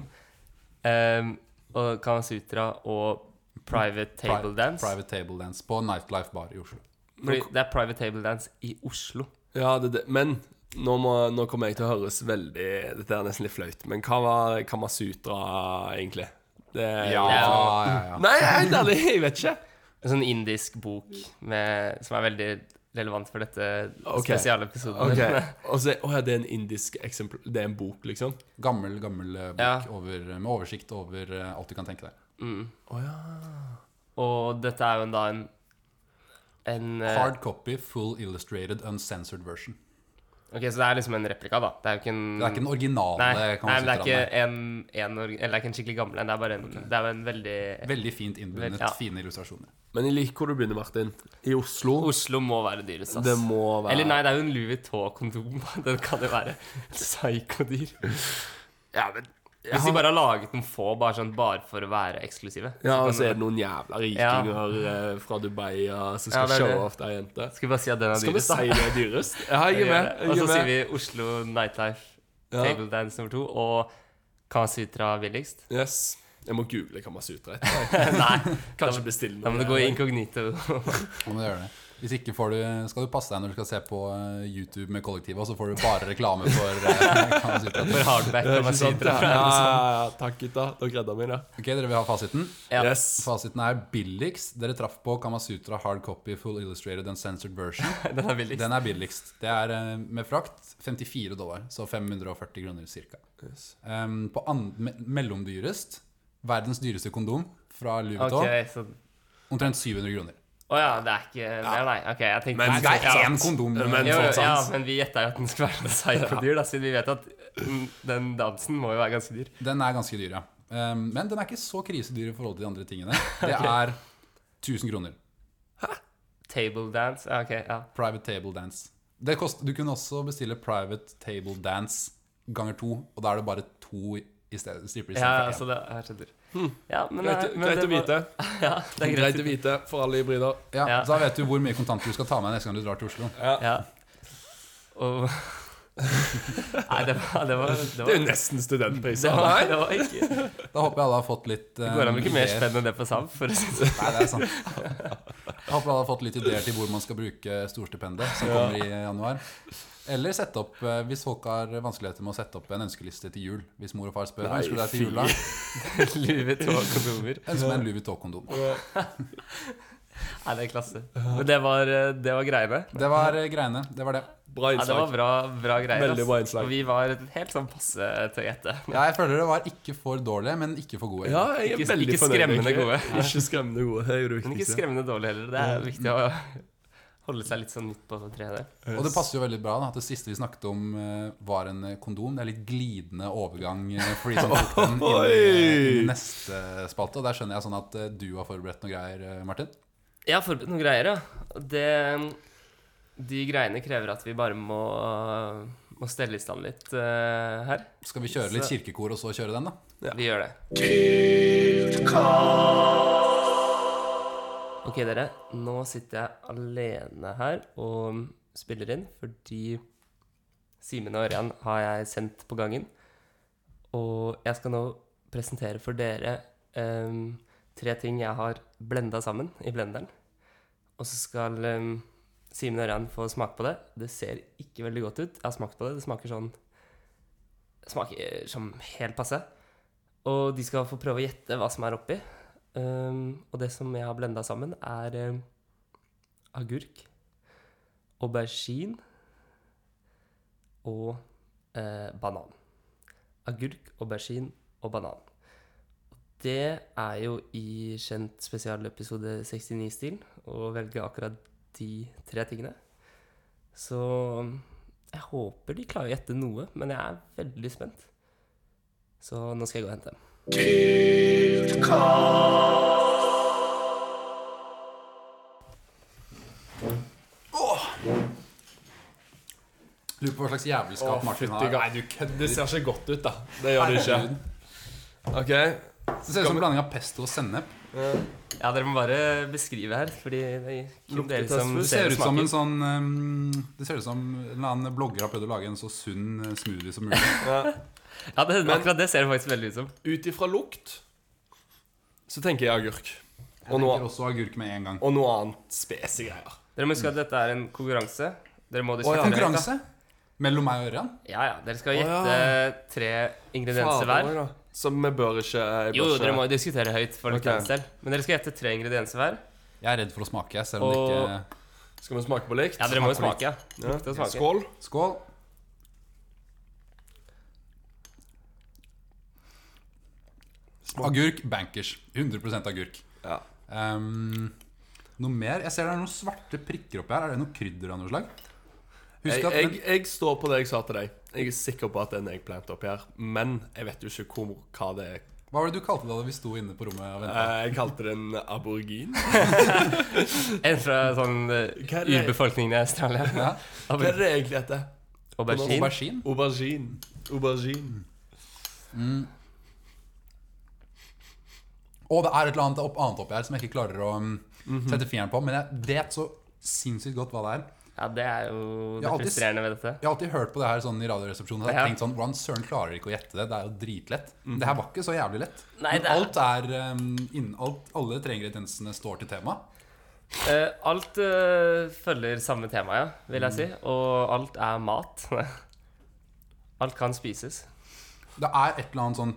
Speaker 2: um, og Kama Sutra og Private Table
Speaker 1: Pri-
Speaker 2: Dance.
Speaker 1: Private Table Dance på Nightlife Bar i Oslo.
Speaker 2: Fordi det er Private Table Dance i Oslo.
Speaker 3: Ja, det, det. Men nå, må, nå kommer jeg til å høres veldig Dette er nesten litt flaut, men hva var Kamasutra, egentlig? Det,
Speaker 1: ja, ja.
Speaker 3: Nei, helt ærlig, jeg vet ikke.
Speaker 2: En sånn indisk bok med, som er veldig relevant for dette
Speaker 3: Ok.
Speaker 2: spesialepisoden.
Speaker 3: Ok, eh, og så, Å ja, det er en indisk eksempel Det er en bok, liksom?
Speaker 1: Gammel, gammel eh, bok
Speaker 2: Ja.
Speaker 1: over, med oversikt over eh, alt du kan tenke deg.
Speaker 2: Og dette er jo da en en, eh,
Speaker 1: Hard copy, full illustrated, uncensored version.
Speaker 2: Ok, Så det er liksom en replika, da. Det er jo ikke en,
Speaker 1: Det er ikke den originale.
Speaker 2: nei,
Speaker 1: Kama
Speaker 2: nei, men det er
Speaker 1: Sutraen, nei.
Speaker 2: ikke en, en, or- eller det er ikke en skikkelig gammel en. Det er bare en, det er jo en veldig
Speaker 1: Veldig fint innbundet,
Speaker 2: Vel- ja.
Speaker 1: fine illustrasjoner.
Speaker 3: Men jeg liker hvor du begynner, Martin. I Oslo.
Speaker 2: Oslo må være dyrest, ass.
Speaker 3: Det må være
Speaker 2: Eller nei, det er jo en Louis Vuitton-kondom. Den kan jo være psykodyr.
Speaker 3: Ja, men
Speaker 2: Hvis de bare har laget noen få, bare sånn bare for å være eksklusive.
Speaker 3: Ja, og
Speaker 2: kan-
Speaker 3: så er det noen jævla rikinger eh, fra Dubai ja, som skal
Speaker 2: Ja, det er det.
Speaker 3: showe off der jente.
Speaker 2: Skal vi bare si at den er
Speaker 3: Skal vi
Speaker 2: dyrest, da?
Speaker 3: si det er dyrest? Ja, jeg er med.
Speaker 2: Og
Speaker 3: Jeg
Speaker 2: så
Speaker 3: er
Speaker 2: sier
Speaker 3: med.
Speaker 2: vi Oslo Nightlife,
Speaker 3: Ja.
Speaker 2: Table Dance nummer to, og Kama Sutra billigst.
Speaker 3: Yes. Jeg må google Kamasutra etterpå.
Speaker 2: Nei,
Speaker 3: Kanskje bestille
Speaker 2: da
Speaker 3: noe.
Speaker 2: må du gå
Speaker 3: der.
Speaker 2: inkognito.
Speaker 1: Nå må du gjøre det. Hvis ikke får du, skal du passe deg når du skal se på eh, YouTube med kollektivet, og så får du bare reklame for eh, Kama Sutra.
Speaker 2: For hardback
Speaker 3: Det er
Speaker 2: Kama
Speaker 3: ikke sant,
Speaker 2: Sutra.
Speaker 3: ja. Ja, ja, ja. Takk, gutta. Dere redda meg, da.
Speaker 1: Ok, Dere vil ha fasiten?
Speaker 2: Ja.
Speaker 3: Yes.
Speaker 1: Fasiten er billigst. Dere traff på Kama Sutra hard copy, full illustrated and censored version.
Speaker 2: Den er billigst.
Speaker 1: Den er billigst. Det er eh, med frakt 54 dollar, så 540 kroner ca.
Speaker 3: Yes.
Speaker 1: på an me mellomdyrest, verdens dyreste kondom fra Louis Vuitton,
Speaker 2: Ok, så
Speaker 1: omtrent 700 kroner.
Speaker 2: Å ja, det er ikke Nei, nei. Ok, jeg tenkte
Speaker 3: Men-
Speaker 1: Nei, det er én kondom.
Speaker 3: Men
Speaker 2: jo, jo,
Speaker 3: fortsatt.
Speaker 2: ja, men vi gjetta jo at den skulle være noe psykodyr, da, siden vi vet at mm, den dansen må jo være ganske dyr.
Speaker 1: Den er ganske dyr, ja. Ehm, men den er ikke så krisedyr i forhold til de andre tingene. Det er 1000 kroner.
Speaker 2: Table dance, ja, ok, ja.
Speaker 1: Private table dance. Det kost, du kunne også bestille private table dance ganger to, og da er det bare to i- i stedet, stripper i stedet
Speaker 2: Ja, altså,
Speaker 1: for
Speaker 2: hm.
Speaker 1: én.
Speaker 2: så det, jeg skjønner. Ja, men,
Speaker 3: Greit,
Speaker 2: nei, men
Speaker 3: greit
Speaker 2: det
Speaker 3: å
Speaker 2: var-
Speaker 3: vite.
Speaker 2: Ja, det er greit.
Speaker 3: Greit å vite for alle hybrider.
Speaker 1: Ja,
Speaker 2: Ja.
Speaker 1: Da vet du hvor mye kontanter du skal ta med neste gang du drar til Oslo.
Speaker 2: Ja. Og Nei, det var Det, var, det,
Speaker 3: Det er
Speaker 2: var,
Speaker 3: jo nesten studentpriser.
Speaker 2: det, var, det var ikke
Speaker 1: Da håper jeg alle har fått litt eh,
Speaker 2: Det går an å bruke mer
Speaker 1: ideer.
Speaker 2: spenn enn det på SAB. For å si det.
Speaker 1: Nei, det er sant. Jeg håper alle har fått litt ideer til hvor man skal bruke storstipendet som kommer i januar. Eller sette opp, eh, hvis folk har vanskeligheter med å sette opp en ønskeliste til jul. Hvis mor og far spør hva
Speaker 3: Nei,
Speaker 1: ønsker du deg til jul, da
Speaker 2: sånn. Louis Vuitton-kondomer.
Speaker 1: ønsker meg en Louis Vuitton-kondom.
Speaker 2: Nei, det er klasse. Men det var, eh, det var greiene.
Speaker 1: Det var eh, greiene. Det var det.
Speaker 3: Bra
Speaker 2: Ja, det var
Speaker 3: innslag.
Speaker 2: bra, bra greier.
Speaker 3: Veldig bra innslag.
Speaker 2: Og vi var helt sånn passe til å gjette.
Speaker 1: Ja, jeg føler det var ikke for dårlig, men ikke for god.
Speaker 3: Ja, jeg er
Speaker 2: Ikke-
Speaker 3: veldig
Speaker 2: ikke
Speaker 3: fornøyd,
Speaker 2: skremmende
Speaker 3: egentlig.
Speaker 2: gode.
Speaker 3: Ikke skremmende gode. Det er jo det
Speaker 2: Men ikke
Speaker 3: viktigste.
Speaker 2: skremmende dårlig heller. Det er viktig å holde seg litt sånn midt på treet der.
Speaker 1: Og det passer jo veldig bra da, at det siste vi snakket om, eh, var en eh, kondom. Det er litt glidende overgang eh, for de som tok den inn i, inn i neste spalte. Og der skjønner jeg sånn at eh, du har forberedt noen greier, eh, Martin.
Speaker 2: Jeg har forberedt noen greier, ja. Og Det, de greiene krever at vi bare må, må stelle i stand litt eh, her.
Speaker 1: Skal vi kjøre litt kirkekor og så kjøre den, da?
Speaker 2: Vi gjør det. Ok, dere. Nå sitter jeg alene her og spiller inn fordi Simen og Ørjan har jeg sendt på gangen. Og jeg skal nå presentere for dere em, tre ting jeg har blenda sammen i blenderen. Og så skal em, Simen og Ørjan få smake på det. Det ser ikke veldig godt ut. Jeg har smakt på det. Det smaker sånn det smaker som helt passe. Og de skal få prøve å gjette hva som er oppi. Um, og det som jeg har blenda sammen, er um, agurk, aubergine og eh, banan. Agurk, aubergine og banan. Og Det er jo i kjent spesialepisode 69-stil å velge akkurat de tre tingene. Så jeg håper de klarer å gjette noe, men jeg er veldig spent. Så nå skal jeg gå og hente dem.
Speaker 1: Lurer på hva slags jævelskap Martin har.
Speaker 3: Nei, du kødder. Det ser ikke godt ut, da. Det gjør det ikke. OK.
Speaker 1: Det ser ut som en blanding av pesto og sennep.
Speaker 2: Ja, dere må bare beskrive her, fordi det er kun dere som
Speaker 1: Det
Speaker 2: ser
Speaker 1: ser
Speaker 2: og
Speaker 1: ut som
Speaker 2: smaker.
Speaker 1: en sånn um, Det ser ut som en eller annen blogger har prøvd å lage en så sunn eh, smoothie som mulig.
Speaker 2: Ja, det, akkurat det ser det faktisk veldig ut som.
Speaker 3: Ut ifra lukt så tenker jeg agurk.
Speaker 1: Jeg
Speaker 3: Og noe,
Speaker 1: tenker også agurk med en gang.
Speaker 3: og noe annet spesielle greier.
Speaker 2: Dere må huske at dette er en konkurranse. Dere må
Speaker 3: ja.
Speaker 2: diskutere dere, da.
Speaker 1: Konkurranse mellom meg og Ørjan.
Speaker 2: Ja, ja. Dere skal
Speaker 3: Å, ja.
Speaker 2: gjette tre ingredienser hver.
Speaker 3: Fader, da. Så vi bør ikke jeg
Speaker 2: Jo,
Speaker 3: bør
Speaker 2: dere
Speaker 3: ikke-
Speaker 2: må jo diskutere høyt for
Speaker 3: Ok.
Speaker 2: lytterens del. Men dere skal gjette tre ingredienser hver.
Speaker 1: Jeg er redd for å smake, selv om det
Speaker 2: Og-
Speaker 1: ikke
Speaker 3: Skal vi smake på likt?
Speaker 2: Ja, dere må jo smake. Ja.
Speaker 3: Ja.
Speaker 2: Lukte og smake.
Speaker 3: Skål.
Speaker 1: Skål. Agurk bankers. 100 agurk.
Speaker 3: Ja.
Speaker 1: Ehm, noe mer? Jeg ser det er noen svarte prikker oppi her. Er det noe krydder av noe slag? Husk
Speaker 3: Jeg,
Speaker 1: at
Speaker 3: jeg, jeg står på det jeg sa til deg. Jeg er sikker på at det er en eggplant oppi her. Men jeg vet jo ikke hvor, hva det er.
Speaker 1: Hva var det du kalte det da vi sto inne på rommet og ventet?
Speaker 3: Eh, Jeg kalte det en aborigin.
Speaker 2: En fra sånn
Speaker 3: Hva er
Speaker 2: uh,
Speaker 3: det?
Speaker 2: urbefolkningen i Australia.
Speaker 1: Ja.
Speaker 3: Hva er det egentlig dette?
Speaker 2: Aubergine.
Speaker 1: Aubergine?
Speaker 3: Aubergine. Aubergine.
Speaker 1: Og det er et eller annet opp, annet oppi her som jeg ikke klarer å mm,
Speaker 3: Mhm.
Speaker 1: sette fingeren på. Men jeg vet så sinnssykt godt hva det er.
Speaker 2: Ja, det er jo
Speaker 1: Jeg
Speaker 2: det
Speaker 1: har alltid-
Speaker 2: frustrerende ved dette.
Speaker 1: Jeg har alltid hørt på det her sånn i Radioresepsjonen og jeg har
Speaker 2: Ja.
Speaker 1: tenkt sånn Hvordan søren klarer de ikke å gjette det? Det er jo dritlett. Men Det her var ikke så jævlig lett.
Speaker 2: Nei,
Speaker 1: Men
Speaker 2: det er-
Speaker 1: alt er um, innen, alt, Alle tre ingrediensene står til tema.
Speaker 2: Eh, alt eh, følger samme tema, ja, vil jeg si. Og alt er mat. alt kan spises.
Speaker 1: Det er et eller annet sånn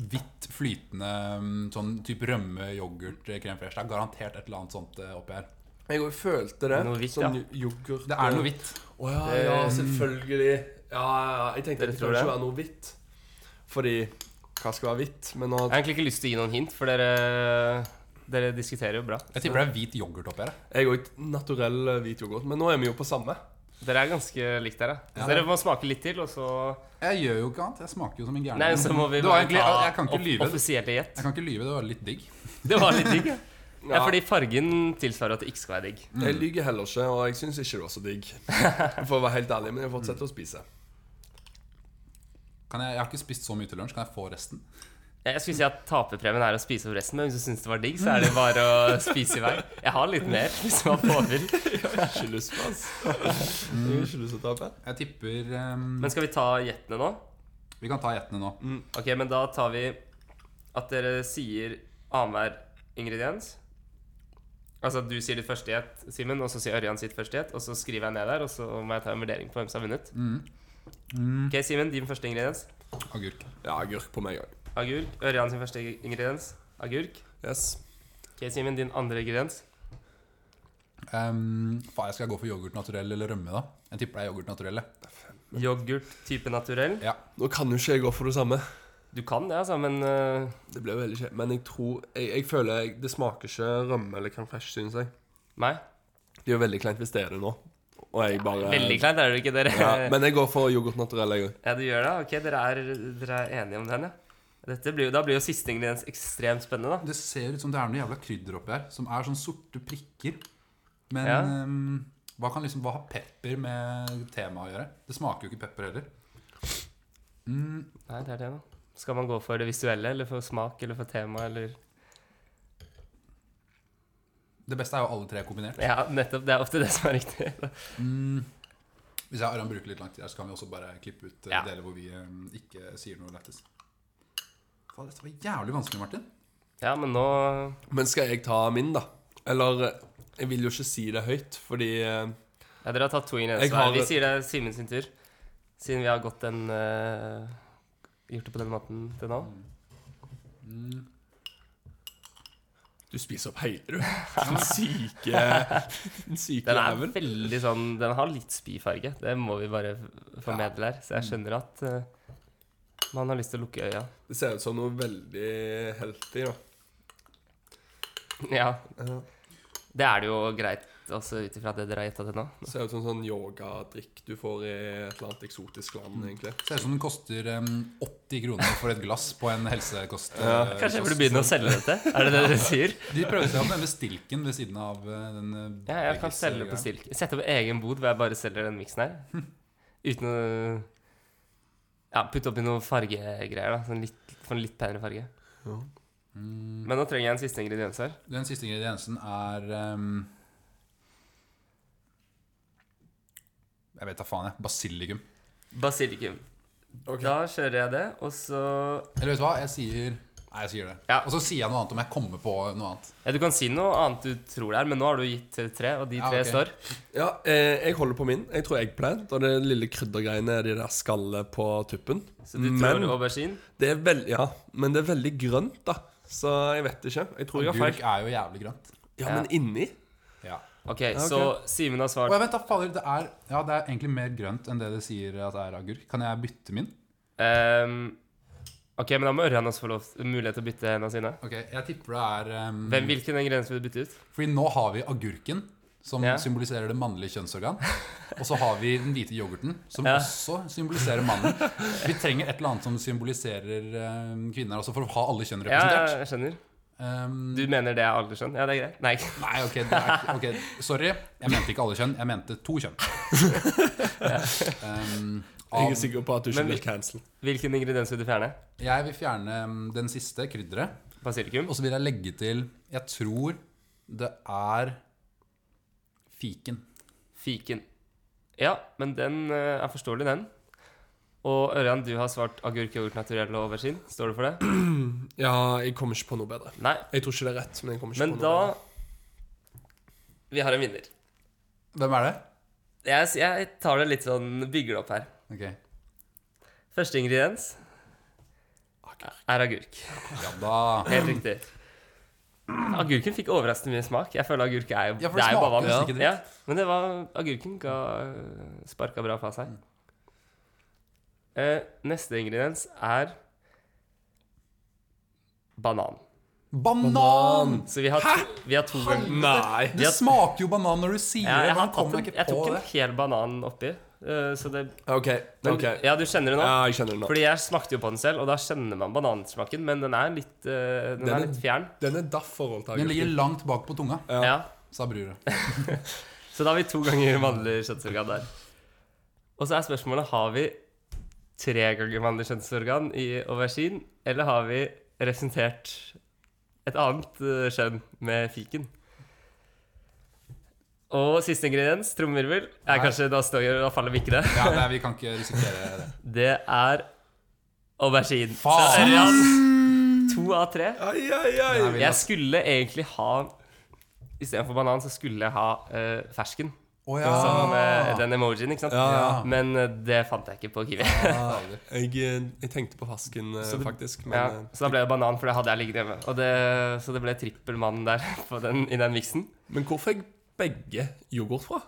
Speaker 1: hvitt flytende um, sånn type rømme, yoghurt, krem fresh. Det er garantert et eller annet sånt eh, oppi her.
Speaker 3: Jeg òg følte det.
Speaker 2: Noe hvitt, ja.
Speaker 3: sånn jo- yoghurt
Speaker 1: Det er noe hvitt. Ehm,
Speaker 3: Å ja, ja, selvfølgelig. Ja, ja, ja. Jeg tenkte
Speaker 2: Dere
Speaker 3: det
Speaker 2: tror
Speaker 3: kunne
Speaker 2: det?
Speaker 3: ikke være noe hvitt. Fordi hva skal være hvitt? Men nå
Speaker 2: Jeg har egentlig ikke lyst til å gi noen hint, for dere, dere diskuterer jo bra.
Speaker 1: Jeg tipper det er hvit yoghurt oppi her. jeg.
Speaker 3: Jeg òg naturell eh, hvit yoghurt. Men nå er vi jo på samme.
Speaker 2: Dere er ganske likt der, ja. Så dere må smake litt til, og så
Speaker 1: Jeg gjør jo ikke annet. Jeg smaker jo som en gæren.
Speaker 2: Nei, så må vi
Speaker 1: Det var
Speaker 2: bare
Speaker 1: egentlig-
Speaker 2: ta
Speaker 1: jeg- jeg kan ikke lyve.
Speaker 2: offisielle gjett.
Speaker 1: Jeg kan ikke lyve, det var litt digg.
Speaker 2: Det var litt digg. Ja. ja,
Speaker 3: Ja.
Speaker 2: fordi fargen tilsvarer at det ikke skal være digg.
Speaker 3: Jeg lyver heller ikke, og jeg syns ikke det var så digg. For å være helt ærlig, men jeg fortsetter å spise.
Speaker 1: Kan jeg, jeg har ikke spist så mye til lunsj. Kan jeg få resten?
Speaker 2: Jeg skulle si at taperpremien er å spise opp resten, men hvis du syns det var digg, så er det bare å spise i vei. Jeg har litt mer, hvis man får vil.
Speaker 3: Ikke lyst på, ass. Ikke lyst til å tape.
Speaker 1: Jeg tipper ehm,
Speaker 2: Men skal vi ta gjettene nå?
Speaker 1: Vi kan ta gjettene nå.
Speaker 2: Ok, men da tar vi at dere sier annenhver ingrediens. Altså at du sier ditt første gjett, Simen, og så sier Ørjan sitt første gjett. Og så skriver jeg ned der, og så må jeg ta en vurdering på hvem som har vunnet. Ok, Simen, din første ingrediens.
Speaker 1: Agurk.
Speaker 3: Ja, agurk på meg òg.
Speaker 2: Agurk. Ørjan sin første ingrediens. Agurk.
Speaker 3: Yes.
Speaker 2: Ok, Simen, din andre ingrediens.
Speaker 1: Ehm, faen, jeg skal gå for yoghurt naturell eller rømme, da. Jeg tipper det er yoghurt naturell. jeg.
Speaker 2: Yoghurt type naturell.
Speaker 1: Ja.
Speaker 3: Nå kan jo ikke jeg gå for det samme.
Speaker 2: Du kan det, altså, men eh,
Speaker 3: Det ble jo veldig kjedelig. Men jeg tror Jeg, jeg føler jeg, det smaker ikke rømme eller crème fresh, synes jeg.
Speaker 2: Nei.
Speaker 3: Det er jo veldig kleint hvis det er det nå. Og jeg bare
Speaker 2: Veldig kleint er det ikke, dere.
Speaker 3: Ja,
Speaker 2: Ja,
Speaker 3: men jeg går for yoghurt naturell, jeg òg.
Speaker 2: du gjør det? Ok, dere er, dere er enige om den, ja. Dette blir jo, da blir jo siste ingrediens ekstremt spennende, da.
Speaker 1: Det ser ut som det er noe jævla krydder oppi her, som er sånn sorte prikker. Men
Speaker 2: Ja.
Speaker 1: ehm, hva, kan liksom, hva har pepper med temaet å gjøre? Det smaker jo ikke pepper heller.
Speaker 2: Nei, det er det, da. Skal man gå for det visuelle, eller for smak, eller for tema, eller
Speaker 1: Det beste er jo alle tre kombinert.
Speaker 2: Ja, nettopp. Det er ofte det som er riktig.
Speaker 1: Hvis jeg og Aram bruker litt lang tid her, så kan vi også bare klippe ut eh,
Speaker 2: Ja.
Speaker 1: deler hvor vi ehm, ikke sier noe lættis. Faen, dette var jævlig vanskelig, Martin.
Speaker 2: Ja, men nå
Speaker 3: Men skal jeg ta min, da? Eller eh, Jeg vil jo ikke si det høyt, fordi eh,
Speaker 2: Ja, dere har tatt to
Speaker 3: Jeg
Speaker 2: ingredienser
Speaker 3: har
Speaker 2: hver. Vi
Speaker 3: det.
Speaker 2: sier det er Simen sin tur. Siden vi har gått den eh, Gjort det på den måten til nå.
Speaker 3: Du spiser opp hele, du. Den syke Den syke
Speaker 2: Den er
Speaker 3: jævel.
Speaker 2: veldig sånn Den har litt spyfarge. Det må vi bare f- formedle her. Så jeg skjønner at eh, man har lyst til å lukke øya.
Speaker 3: Det ser ut som noe veldig healthy, da.
Speaker 2: Ja.
Speaker 3: Ja.
Speaker 2: Det er det jo greit også ut ifra det dere har gjetta til nå.
Speaker 3: Det ser ut som sånn yogadrikk du får i et eller annet eksotisk land, egentlig.
Speaker 1: Ser ut som den koster ehm, 80 kroner for et glass på en helsekost. eh,
Speaker 2: Kanskje jeg
Speaker 1: kost.
Speaker 2: burde begynne å selge dette? Er det det dere sier?
Speaker 1: De prøvde seg på denne stilken ved siden av eh, den eh,
Speaker 2: Ja, jeg kan
Speaker 1: veggis-
Speaker 2: selge på
Speaker 1: greia.
Speaker 2: stilk. Sette opp egen bod hvor jeg bare selger den miksen her. Uten å Ja, putte oppi noen fargegreier, da. Sånn litt, for en litt penere farge.
Speaker 3: Ja.
Speaker 1: Mm.
Speaker 2: Men nå trenger jeg en siste ingrediens her.
Speaker 1: Den siste ingrediensen er ehm, Jeg vet da faen, jeg. Basilikum.
Speaker 2: Basilikum. Da kjører jeg det, og så
Speaker 1: Eller vet du hva, jeg sier Nei, jeg sier det.
Speaker 2: Ja.
Speaker 1: Og så sier jeg noe annet om jeg kommer på noe annet.
Speaker 2: Ja, Du kan si noe annet du tror det er, men nå har du gitt eh, tre, og de
Speaker 1: Ja,
Speaker 2: tre
Speaker 1: ok.
Speaker 2: står.
Speaker 3: Ja, eh, jeg holder på min. Jeg tror eggplant og det lille kryddergreiene er de der skallet på tuppen.
Speaker 2: Så du tror
Speaker 3: men,
Speaker 2: aubergine.
Speaker 3: det er veld, ja, men det er veldig grønt, da. Så jeg vet ikke. Jeg tror jeg har
Speaker 1: Agurk
Speaker 3: feil.
Speaker 1: er jo jævlig grønt.
Speaker 3: Ja, men inni?
Speaker 1: Ja.
Speaker 2: Ok, så Simen har
Speaker 1: Å,
Speaker 2: svart
Speaker 1: ja, vent da, fader. Det er, ja, det er egentlig mer grønt enn det det sier at det er agurk. Kan jeg bytte min?
Speaker 2: ehm, Ok, men da må Ørjan også få lov, mulighet til å bytte en av sine.
Speaker 1: Ok, Jeg tipper det er ehm,
Speaker 2: Hvem, hvilken ingrediens vil du bytte ut?
Speaker 1: Fordi nå har vi agurken, som
Speaker 2: Ja.
Speaker 1: symboliserer det mannlige kjønnsorgan. Og så har vi den hvite yoghurten, som
Speaker 2: Ja.
Speaker 1: også symboliserer mannen. Vi trenger et eller annet som symboliserer eh, kvinner, altså for å ha alle kjønn
Speaker 2: Ja, ja,
Speaker 1: representert.
Speaker 2: jeg skjønner.
Speaker 1: Um,
Speaker 2: Du mener det er alderskjønn? Ja, det er greit. Nei, ikke-
Speaker 1: nei, ok, det er, ikke- ok, sorry. Jeg mente ikke alle kjønn, jeg mente to kjønn. Um,
Speaker 3: Jeg
Speaker 1: av,
Speaker 3: er sikker på at du ikke
Speaker 2: Men
Speaker 3: blir
Speaker 2: vi-
Speaker 3: cancelled.
Speaker 2: hvilken ingrediens vil du fjerne?
Speaker 1: jeg vil fjerne um, den siste, krydderet.
Speaker 2: Basilikum?
Speaker 1: Og så vil jeg legge til Jeg tror det er fiken.
Speaker 2: Fiken. Ja, men den eh, er forståelig, den. Og Ørjan, du har svart agurk, yoghurt, naturell og aubergine. Står du for det?
Speaker 3: Ja, jeg kommer ikke på noe bedre.
Speaker 2: Nei.
Speaker 3: Jeg tror ikke det er rett, men jeg kommer ikke
Speaker 2: Men
Speaker 3: på noe
Speaker 2: da Vi har en vinner.
Speaker 1: Hvem er det?
Speaker 2: Jeg, jeg tar det litt sånn Bygger det opp her.
Speaker 1: Ok,
Speaker 2: Første ingrediens er agurk.
Speaker 1: Ja da.
Speaker 2: Helt riktig. Agurken fikk overraskende mye smak. Jeg føler agurk er jo
Speaker 1: Ja, for det
Speaker 2: det er jo bare
Speaker 1: smaker
Speaker 2: vann.
Speaker 1: nesten ikke
Speaker 2: Ja,
Speaker 1: dritt.
Speaker 2: men det var, agurken ga, sparka bra fra seg. Eh, neste ingrediens er banan.
Speaker 1: Banan!
Speaker 2: Så vi har to, vi har to ganger
Speaker 3: bedre. Nei.
Speaker 1: Det smaker jo banan når du sier
Speaker 2: ja,
Speaker 1: det.
Speaker 2: jeg, har
Speaker 1: Hvordan
Speaker 2: tatt
Speaker 1: kommer
Speaker 2: en,
Speaker 1: jeg ikke
Speaker 2: jeg
Speaker 1: på
Speaker 2: tok en
Speaker 1: det?
Speaker 2: hel banan oppi. eh, så det
Speaker 3: OK.
Speaker 2: men,
Speaker 3: ok.
Speaker 2: Ja, du kjenner det nå?
Speaker 3: Ja, jeg kjenner det nå.
Speaker 2: Fordi jeg smakte jo på den selv, og da kjenner man banansmaken, men den er litt, eh, den
Speaker 3: Den
Speaker 2: er
Speaker 3: er-
Speaker 2: litt fjern.
Speaker 3: Den er daff forhold til
Speaker 1: Den ligger
Speaker 3: agurken.
Speaker 1: langt bak på tunga,
Speaker 3: Ja.
Speaker 2: Ja.
Speaker 1: sa bruret.
Speaker 2: Så da har vi to ganger mannlig kjønnsorgan der. Og så er spørsmålet har vi tre ganger mannlig kjønnsorgan i aubergine, eller har vi representert et annet eh, skjønn med fiken. Og siste ingrediens, trommevirvel. Er kanskje da, står, da faller vi ikke det.
Speaker 1: Ja, nei, vi kan ikke risikere det.
Speaker 2: Det er aubergine.
Speaker 1: Faen!
Speaker 2: Så er det altså To av tre.
Speaker 3: Ai, ai, ai.
Speaker 1: Nei, vi-
Speaker 2: Jeg skulle egentlig ha Istedenfor banan så skulle jeg ha eh, fersken.
Speaker 1: Å
Speaker 2: Som eh, den emojien, ikke sant?
Speaker 3: Ja.
Speaker 2: Men eh, det fant jeg ikke på Kiwi.
Speaker 3: Jeg, eh, jeg tenkte på fasken, eh,
Speaker 2: Så det-
Speaker 3: faktisk. Men
Speaker 2: ja,
Speaker 3: eh,
Speaker 2: så da ble det banan, for det hadde jeg liggende hjemme. Og det, så det ble trippel mann der på den, i den miksen.
Speaker 3: Men hvor fikk begge yoghurt fra?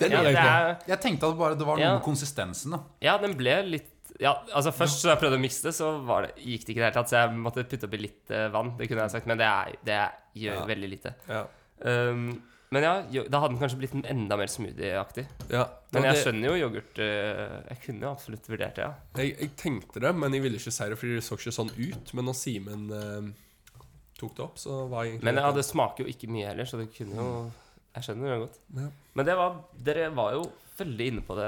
Speaker 3: Det
Speaker 2: Ja,
Speaker 3: lurer
Speaker 2: det
Speaker 3: jeg på.
Speaker 2: er,
Speaker 1: Jeg tenkte at bare det var noe
Speaker 2: Ja.
Speaker 1: med konsistensen. da
Speaker 2: ja, den ble litt ja, altså Først da jeg prøvde å mikse det, så var det, gikk det ikke i det hele tatt. Så jeg måtte putte oppi litt eh, vann. Det kunne jeg sagt, men det, er, det gjør
Speaker 3: Ja.
Speaker 2: veldig lite.
Speaker 3: Ja.
Speaker 2: Um, men ja, jo, da hadde den kanskje blitt enda mer smoothieaktig.
Speaker 3: Ja.
Speaker 2: Men
Speaker 3: Ja,
Speaker 2: jeg
Speaker 3: det-
Speaker 2: skjønner jo yoghurt eh, Jeg kunne jo absolutt vurdert det, ja.
Speaker 3: Jeg, jeg tenkte det, men jeg ville ikke si det fordi det så ikke sånn ut. Men når Simen eh, tok det opp, så var jeg egentlig
Speaker 2: Men ja, det smaker jo ikke mye heller, så det kunne jo Jeg skjønner det godt.
Speaker 3: Ja.
Speaker 2: Men det var, dere var jo veldig inne på det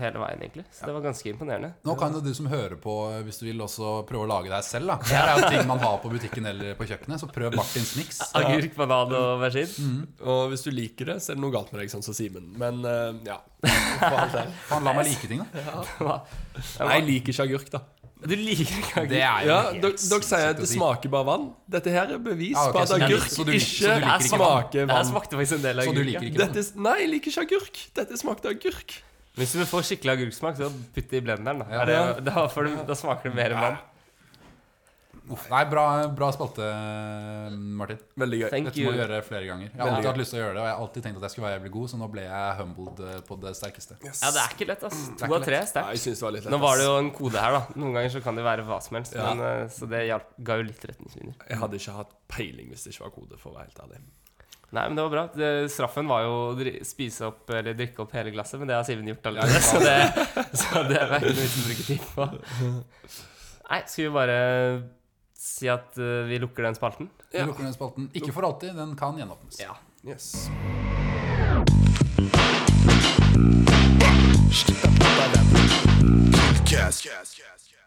Speaker 2: hele veien, egentlig. Så det var ganske imponerende.
Speaker 1: Nå kan jo du som hører på, eh, hvis du vil også prøve å lage deg selv. da Det her er jo ting man har på butikken eller på kjøkkenet, så prøv Martins Mix.
Speaker 2: Agurk, banan og aubergine.
Speaker 3: sånn- Og hvis du liker det, så er det noe galt med deg, sånn som Simen. Men eh, ja. For all del.
Speaker 1: Faen, la meg like ting, da.
Speaker 2: Hva-
Speaker 3: Nei, jeg liker ikke agurk, da.
Speaker 2: Du liker ikke agurk?
Speaker 1: Det er jo
Speaker 3: Ja,
Speaker 1: helt
Speaker 3: Dere dere sier at
Speaker 1: sinnssykt å
Speaker 3: det
Speaker 1: si.
Speaker 3: smaker bare vann. Dette her er bevis
Speaker 1: Ja, Ah, ok, så
Speaker 3: på at
Speaker 1: du
Speaker 3: agurk
Speaker 1: liker- så du- så du
Speaker 3: ikke,
Speaker 1: liker ikke vann.
Speaker 3: smaker
Speaker 2: Jeg
Speaker 3: vann.
Speaker 2: smakte faktisk en del
Speaker 1: Så
Speaker 2: agurk.
Speaker 1: du liker
Speaker 2: ja.
Speaker 1: ikke
Speaker 3: Dette, nei, jeg liker ikke agurk. Dette smakte agurk.
Speaker 2: Hvis du får skikkelig agurksmak, så putt det i blenderen. Da,
Speaker 1: Ja.
Speaker 2: er det, da, får du, da smaker det mer enn vann.
Speaker 1: Uff, Nei, bra, bra spalte, Martin.
Speaker 3: Veldig gøy.
Speaker 2: Thank
Speaker 1: Dette må
Speaker 2: you.
Speaker 1: vi gjøre flere ganger. Jeg har
Speaker 3: Veldig
Speaker 1: alltid
Speaker 3: gøy.
Speaker 1: hatt lyst til å gjøre det, og jeg har alltid tenkt at jeg skulle være jævlig god, så nå ble jeg humbled eh, på det sterkeste.
Speaker 2: Ja, Mm, det er ikke lett, ass. To
Speaker 1: ikke
Speaker 2: av tre er
Speaker 3: Nei,
Speaker 2: sterkt.
Speaker 3: jeg synes det var litt lett.
Speaker 2: Nå var det jo en kode her, da. Noen ganger så kan det være hva som helst.
Speaker 3: Ja.
Speaker 2: Men, eh, så det hjalp, ga jo litt retningslinjer.
Speaker 3: Jeg hadde ikke hatt peiling hvis det ikke var kode, for å være helt ærlig.
Speaker 2: Nei, men det var bra. Det, straffen var jo å dri- spise opp eller drikke opp hele glasset, men det har Siven gjort allerede. så, det, så det var ikke noe vits i å bruke tid på. Nei, skal vi bare si at eh, vi lukker den spalten?
Speaker 1: Vi lukker den spalten. Ikke for alltid, den kan gjenåpnes.
Speaker 2: Ja.
Speaker 3: Yes.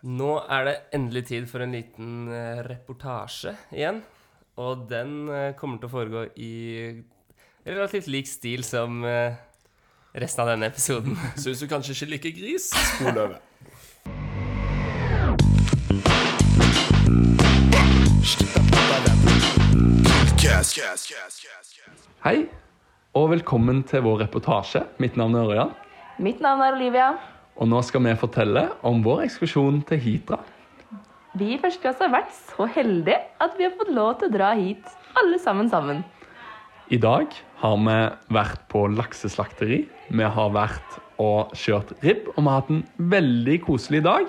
Speaker 2: Nå er det endelig tid for en liten eh, reportasje igjen. Og den eh, kommer til å foregå i relativt lik stil som eh, resten av denne episoden.
Speaker 3: Syns du kanskje ikke liker gris? Spol over. Hei, og velkommen til vår reportasje. Mitt navn er Ørjan,
Speaker 4: Mitt navn er Olivia.
Speaker 3: og nå skal vi fortelle om vår ekskursjon til Hitra.
Speaker 4: Vi i første klasse har vært så heldige at vi har fått lov til å dra hit, alle sammen sammen.
Speaker 3: I dag har vi vært på lakseslakteri, vi har vært og kjørt ribb, og vi har hatt en veldig koselig dag.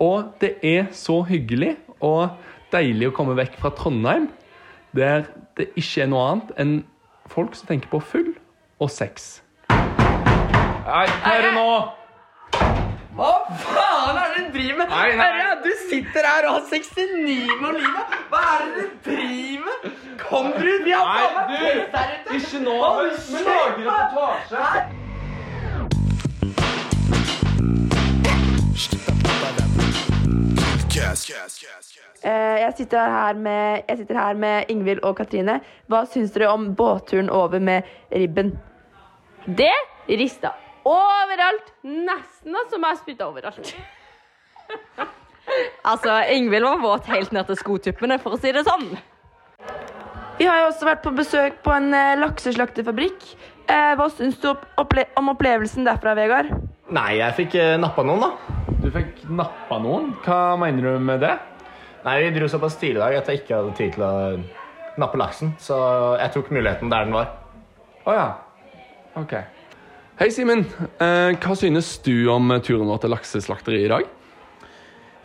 Speaker 3: Og det er så hyggelig og deilig å komme vekk fra Trondheim, der det ikke er noe annet enn folk som tenker på full og sex. Nei, hva er det nå?
Speaker 5: faen er det du driver med?
Speaker 3: Nei, nei.
Speaker 5: Herre, du sitter her og har 69 med Olivia. Hva er det du driver med? Kom, brud. Vi har
Speaker 3: Nei,
Speaker 5: faen meg
Speaker 3: du,
Speaker 5: fest her ute.
Speaker 3: Ikke nå!
Speaker 5: Hold kjeft, da. Nei.
Speaker 6: Eh, Jeg sitter her med, jeg sitter her med Ingvild og Katrine. Hva syns dere om båtturen over med ribben?
Speaker 4: Det rista overalt. Nesten som jeg spytta overalt. altså, Ingvild var våt helt ned til skotuppene, for å si det sånn.
Speaker 6: Vi har jo også vært på besøk på en eh, lakseslakterfabrikk. Eh, Hva syns du opp- opple om opplevelsen derfra, Vegard?
Speaker 5: Nei, jeg fikk eh, nappa noen, da.
Speaker 3: Du fikk nappa noen. Hva mener du med det?
Speaker 5: Nei, Vi dro såpass tidlig i dag at jeg ikke hadde tid til å nappe laksen. Så jeg tok muligheten der den var.
Speaker 3: Å ja. OK. Hei, Simen. Eh, hva synes du om turen vår til lakseslakteriet i dag?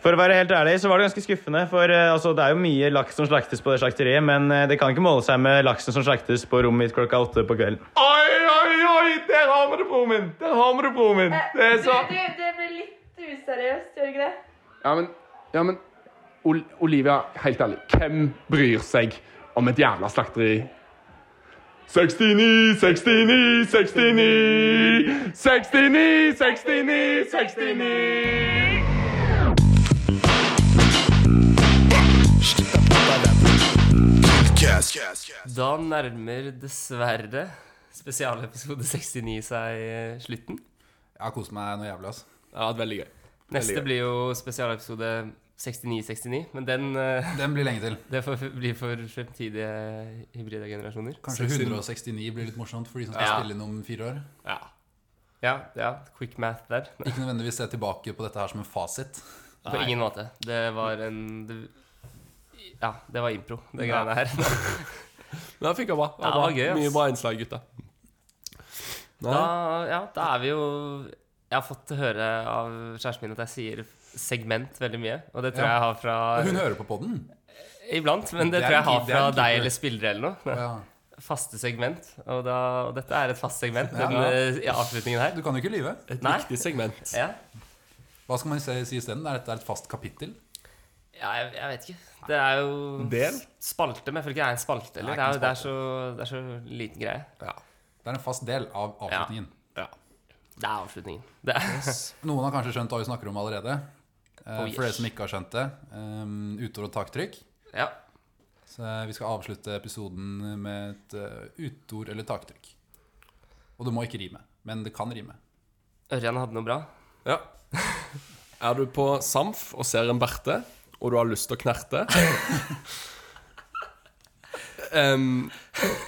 Speaker 7: For å være helt ærlig, så var det ganske skuffende. For eh, altså, det er jo mye laks som slaktes på det slakteriet, men eh, det kan ikke måle seg med laksen som slaktes på rommet mitt klokka åtte på kvelden.
Speaker 3: Oi, oi, oi! Der har vi det, broren min! Der har vi det, broren min!
Speaker 6: Eh,
Speaker 3: Det er så
Speaker 6: det blir litt useriøst, gjør ikke det?
Speaker 3: Ja, men, ja, men Ol Olivia, helt ærlig. Hvem bryr seg om et jævla slakteri? 69, 69, 69 69, 69, 69
Speaker 2: Da nærmer dessverre spesialepisode 69 seg eh, slutten.
Speaker 1: Jeg har kost meg noe jævlig. altså. ass
Speaker 3: Det har vært veldig gøy.
Speaker 2: Neste blir jo spesialepisode 69-69, men den eh,
Speaker 1: Den blir lenge til.
Speaker 2: Det får f- bli for fremtidige hybride generasjoner.
Speaker 1: Kanskje 169 blir litt morsomt for de som skal
Speaker 2: Ja.
Speaker 1: spille inn om fire år.
Speaker 3: Ja.
Speaker 2: Ja, ja, quick math der.
Speaker 1: Ikke nødvendigvis se tilbake på dette her som en fasit.
Speaker 2: På ingen måte. Det var en det, Ja, det var impro, det
Speaker 3: Ja.
Speaker 2: greiene her.
Speaker 3: Men det funka bra. Det
Speaker 2: Ja,
Speaker 3: var bra.
Speaker 2: det var gøy, ass.
Speaker 3: Mye bra innslag, gutta. Nei,
Speaker 2: Da, ja, da er vi jo Jeg har fått høre av kjæresten min at jeg sier segment veldig mye. Og det tror
Speaker 1: Ja.
Speaker 2: jeg jeg har fra
Speaker 1: Hun hører på podden.
Speaker 2: Iblant, men det,
Speaker 1: Det er
Speaker 2: tror jeg
Speaker 1: en
Speaker 2: jeg har
Speaker 1: keep- det er
Speaker 2: fra
Speaker 1: en
Speaker 2: deg
Speaker 1: keeper.
Speaker 2: eller spillere eller noe.
Speaker 1: Ja.
Speaker 2: Faste segment. Og, da, og dette er et fast segment,
Speaker 1: Ja.
Speaker 2: den eh, ja, avslutningen her.
Speaker 1: Du kan jo ikke lyve.
Speaker 3: et
Speaker 2: Nei.
Speaker 3: viktig segment.
Speaker 2: Ja,
Speaker 1: Hva skal man si si isteden? Er dette et fast kapittel?
Speaker 2: ja jeg, jeg vet ikke. Det er jo
Speaker 3: Del?
Speaker 2: spalte, men jeg føler ikke det er en spalte. Eller?
Speaker 1: Det
Speaker 2: Det,
Speaker 1: er
Speaker 2: er,
Speaker 1: ikke
Speaker 2: jo- det, er så, det er så liten greie.
Speaker 3: Ja.
Speaker 1: Det er en fast del av avslutningen.
Speaker 3: ja.
Speaker 2: Det er avslutningen. Det er,
Speaker 1: Noen har kanskje skjønt hva vi snakker om allerede. Eh,
Speaker 2: Oh, yes.
Speaker 1: For dere som ikke har skjønt det, um, utover og taktrykk.
Speaker 2: ja.
Speaker 1: Så Eh, vi skal avslutte episoden med et eh, utord eller taktrykk. Og det må ikke rime, men det kan rime.
Speaker 2: Ørjan hadde noe bra.
Speaker 3: ja. Er du på Samf og ser en berte, og du har lyst til å knerte Em,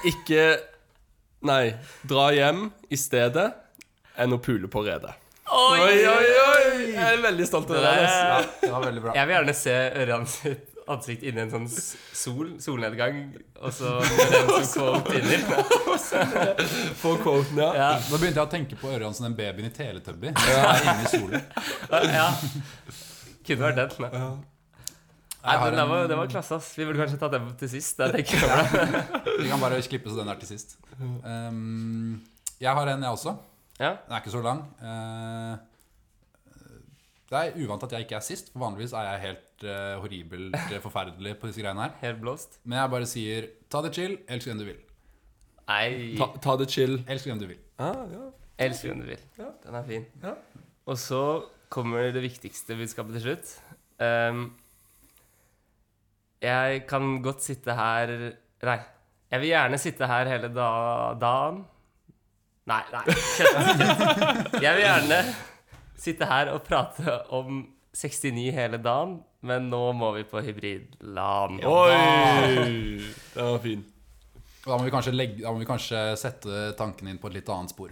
Speaker 3: Ikke Nei. Dra hjem i stedet enn å pule på redet. Oi, oi, oi! Jeg er veldig stolt av det.
Speaker 2: Det
Speaker 3: der,
Speaker 2: er-
Speaker 3: ass.
Speaker 1: Ja, det var veldig bra.
Speaker 2: Jeg vil gjerne se Ørjan sitt ansikt inni en sånn s- sol, solnedgang, og så den som kom inni.
Speaker 3: På quoten, ja.
Speaker 2: Ja,
Speaker 1: Nå begynte jeg å tenke på Ørjan som den babyen i Teletubby. som er inne i solen.
Speaker 2: ja. Kunne vært den. Nei, Nei,
Speaker 1: Jeg har
Speaker 2: men det var,
Speaker 1: en-
Speaker 2: det var klasse, ass. Vi burde kanskje tatt den til sist. Jeg tenker jeg over det.
Speaker 1: Vi kan bare klippe så den er til sist. Um, jeg har en, jeg også.
Speaker 2: Ja.
Speaker 1: Den er ikke så lang. Eh, det er uvant at jeg ikke er sist, for vanligvis er jeg helt eh, horribelt eh, forferdelig på disse greiene her.
Speaker 2: Helt blåst.
Speaker 1: Men jeg bare sier ta det chill, elsk hvem du vil.
Speaker 2: Nei,
Speaker 3: Ta, ta det chill.
Speaker 1: Elsk hvem du vil.
Speaker 3: Ah, ja.
Speaker 2: elsker hvem du vil. Den er fin.
Speaker 3: Ja.
Speaker 2: Og så kommer det viktigste budskapet til slutt. Ehm, jeg kan godt sitte her Nei. Jeg vil gjerne sitte her hele da, dagen. Nei, nei. Kødd. Jeg vil gjerne sitte her og prate om 69 hele dagen, men nå må vi på hybrid-LAN.
Speaker 3: Oi! Den var fin.
Speaker 1: Og Da må, vi kanskje legge, da må vi kanskje sette tanken inn på et litt annet spor.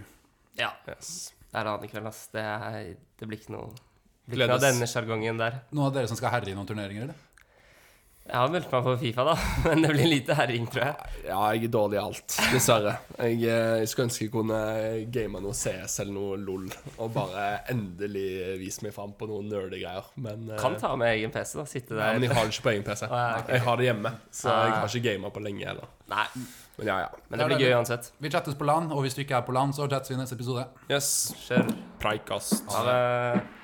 Speaker 2: Ja. Det er LAN i kveld, ass. Det, er, det blir ikke noe det blir ikke noe av
Speaker 3: Gledes.
Speaker 2: denne sjargongen der.
Speaker 1: Noen av dere som skal herje i noen turneringer, eller?
Speaker 2: Jeg har meldt meg på Fifa, da, men det blir lite herring, tror jeg.
Speaker 3: Ja, jeg er dårlig i alt, dessverre. Jeg, eh, jeg skulle ønske jeg kunne game noe CS eller noe LOL, og bare endelig vise meg fram på noen nerdegreier. Men, eh,
Speaker 2: Kan ta med egen PC, da. Sitte
Speaker 3: ja,
Speaker 2: der.
Speaker 3: men jeg har det ikke på egen PC.
Speaker 2: ja, ok.
Speaker 3: Jeg har det hjemme, så jeg har ikke gama på lenge heller.
Speaker 2: Nei,
Speaker 3: Ah. Men ja, ja.
Speaker 2: men det blir gøy uansett.
Speaker 1: Vi chattes på LAN, og hvis du ikke er på LAN, så chattes vi i neste episode.
Speaker 3: Yes.
Speaker 2: Kjør.
Speaker 3: Preikast.
Speaker 2: Ha det.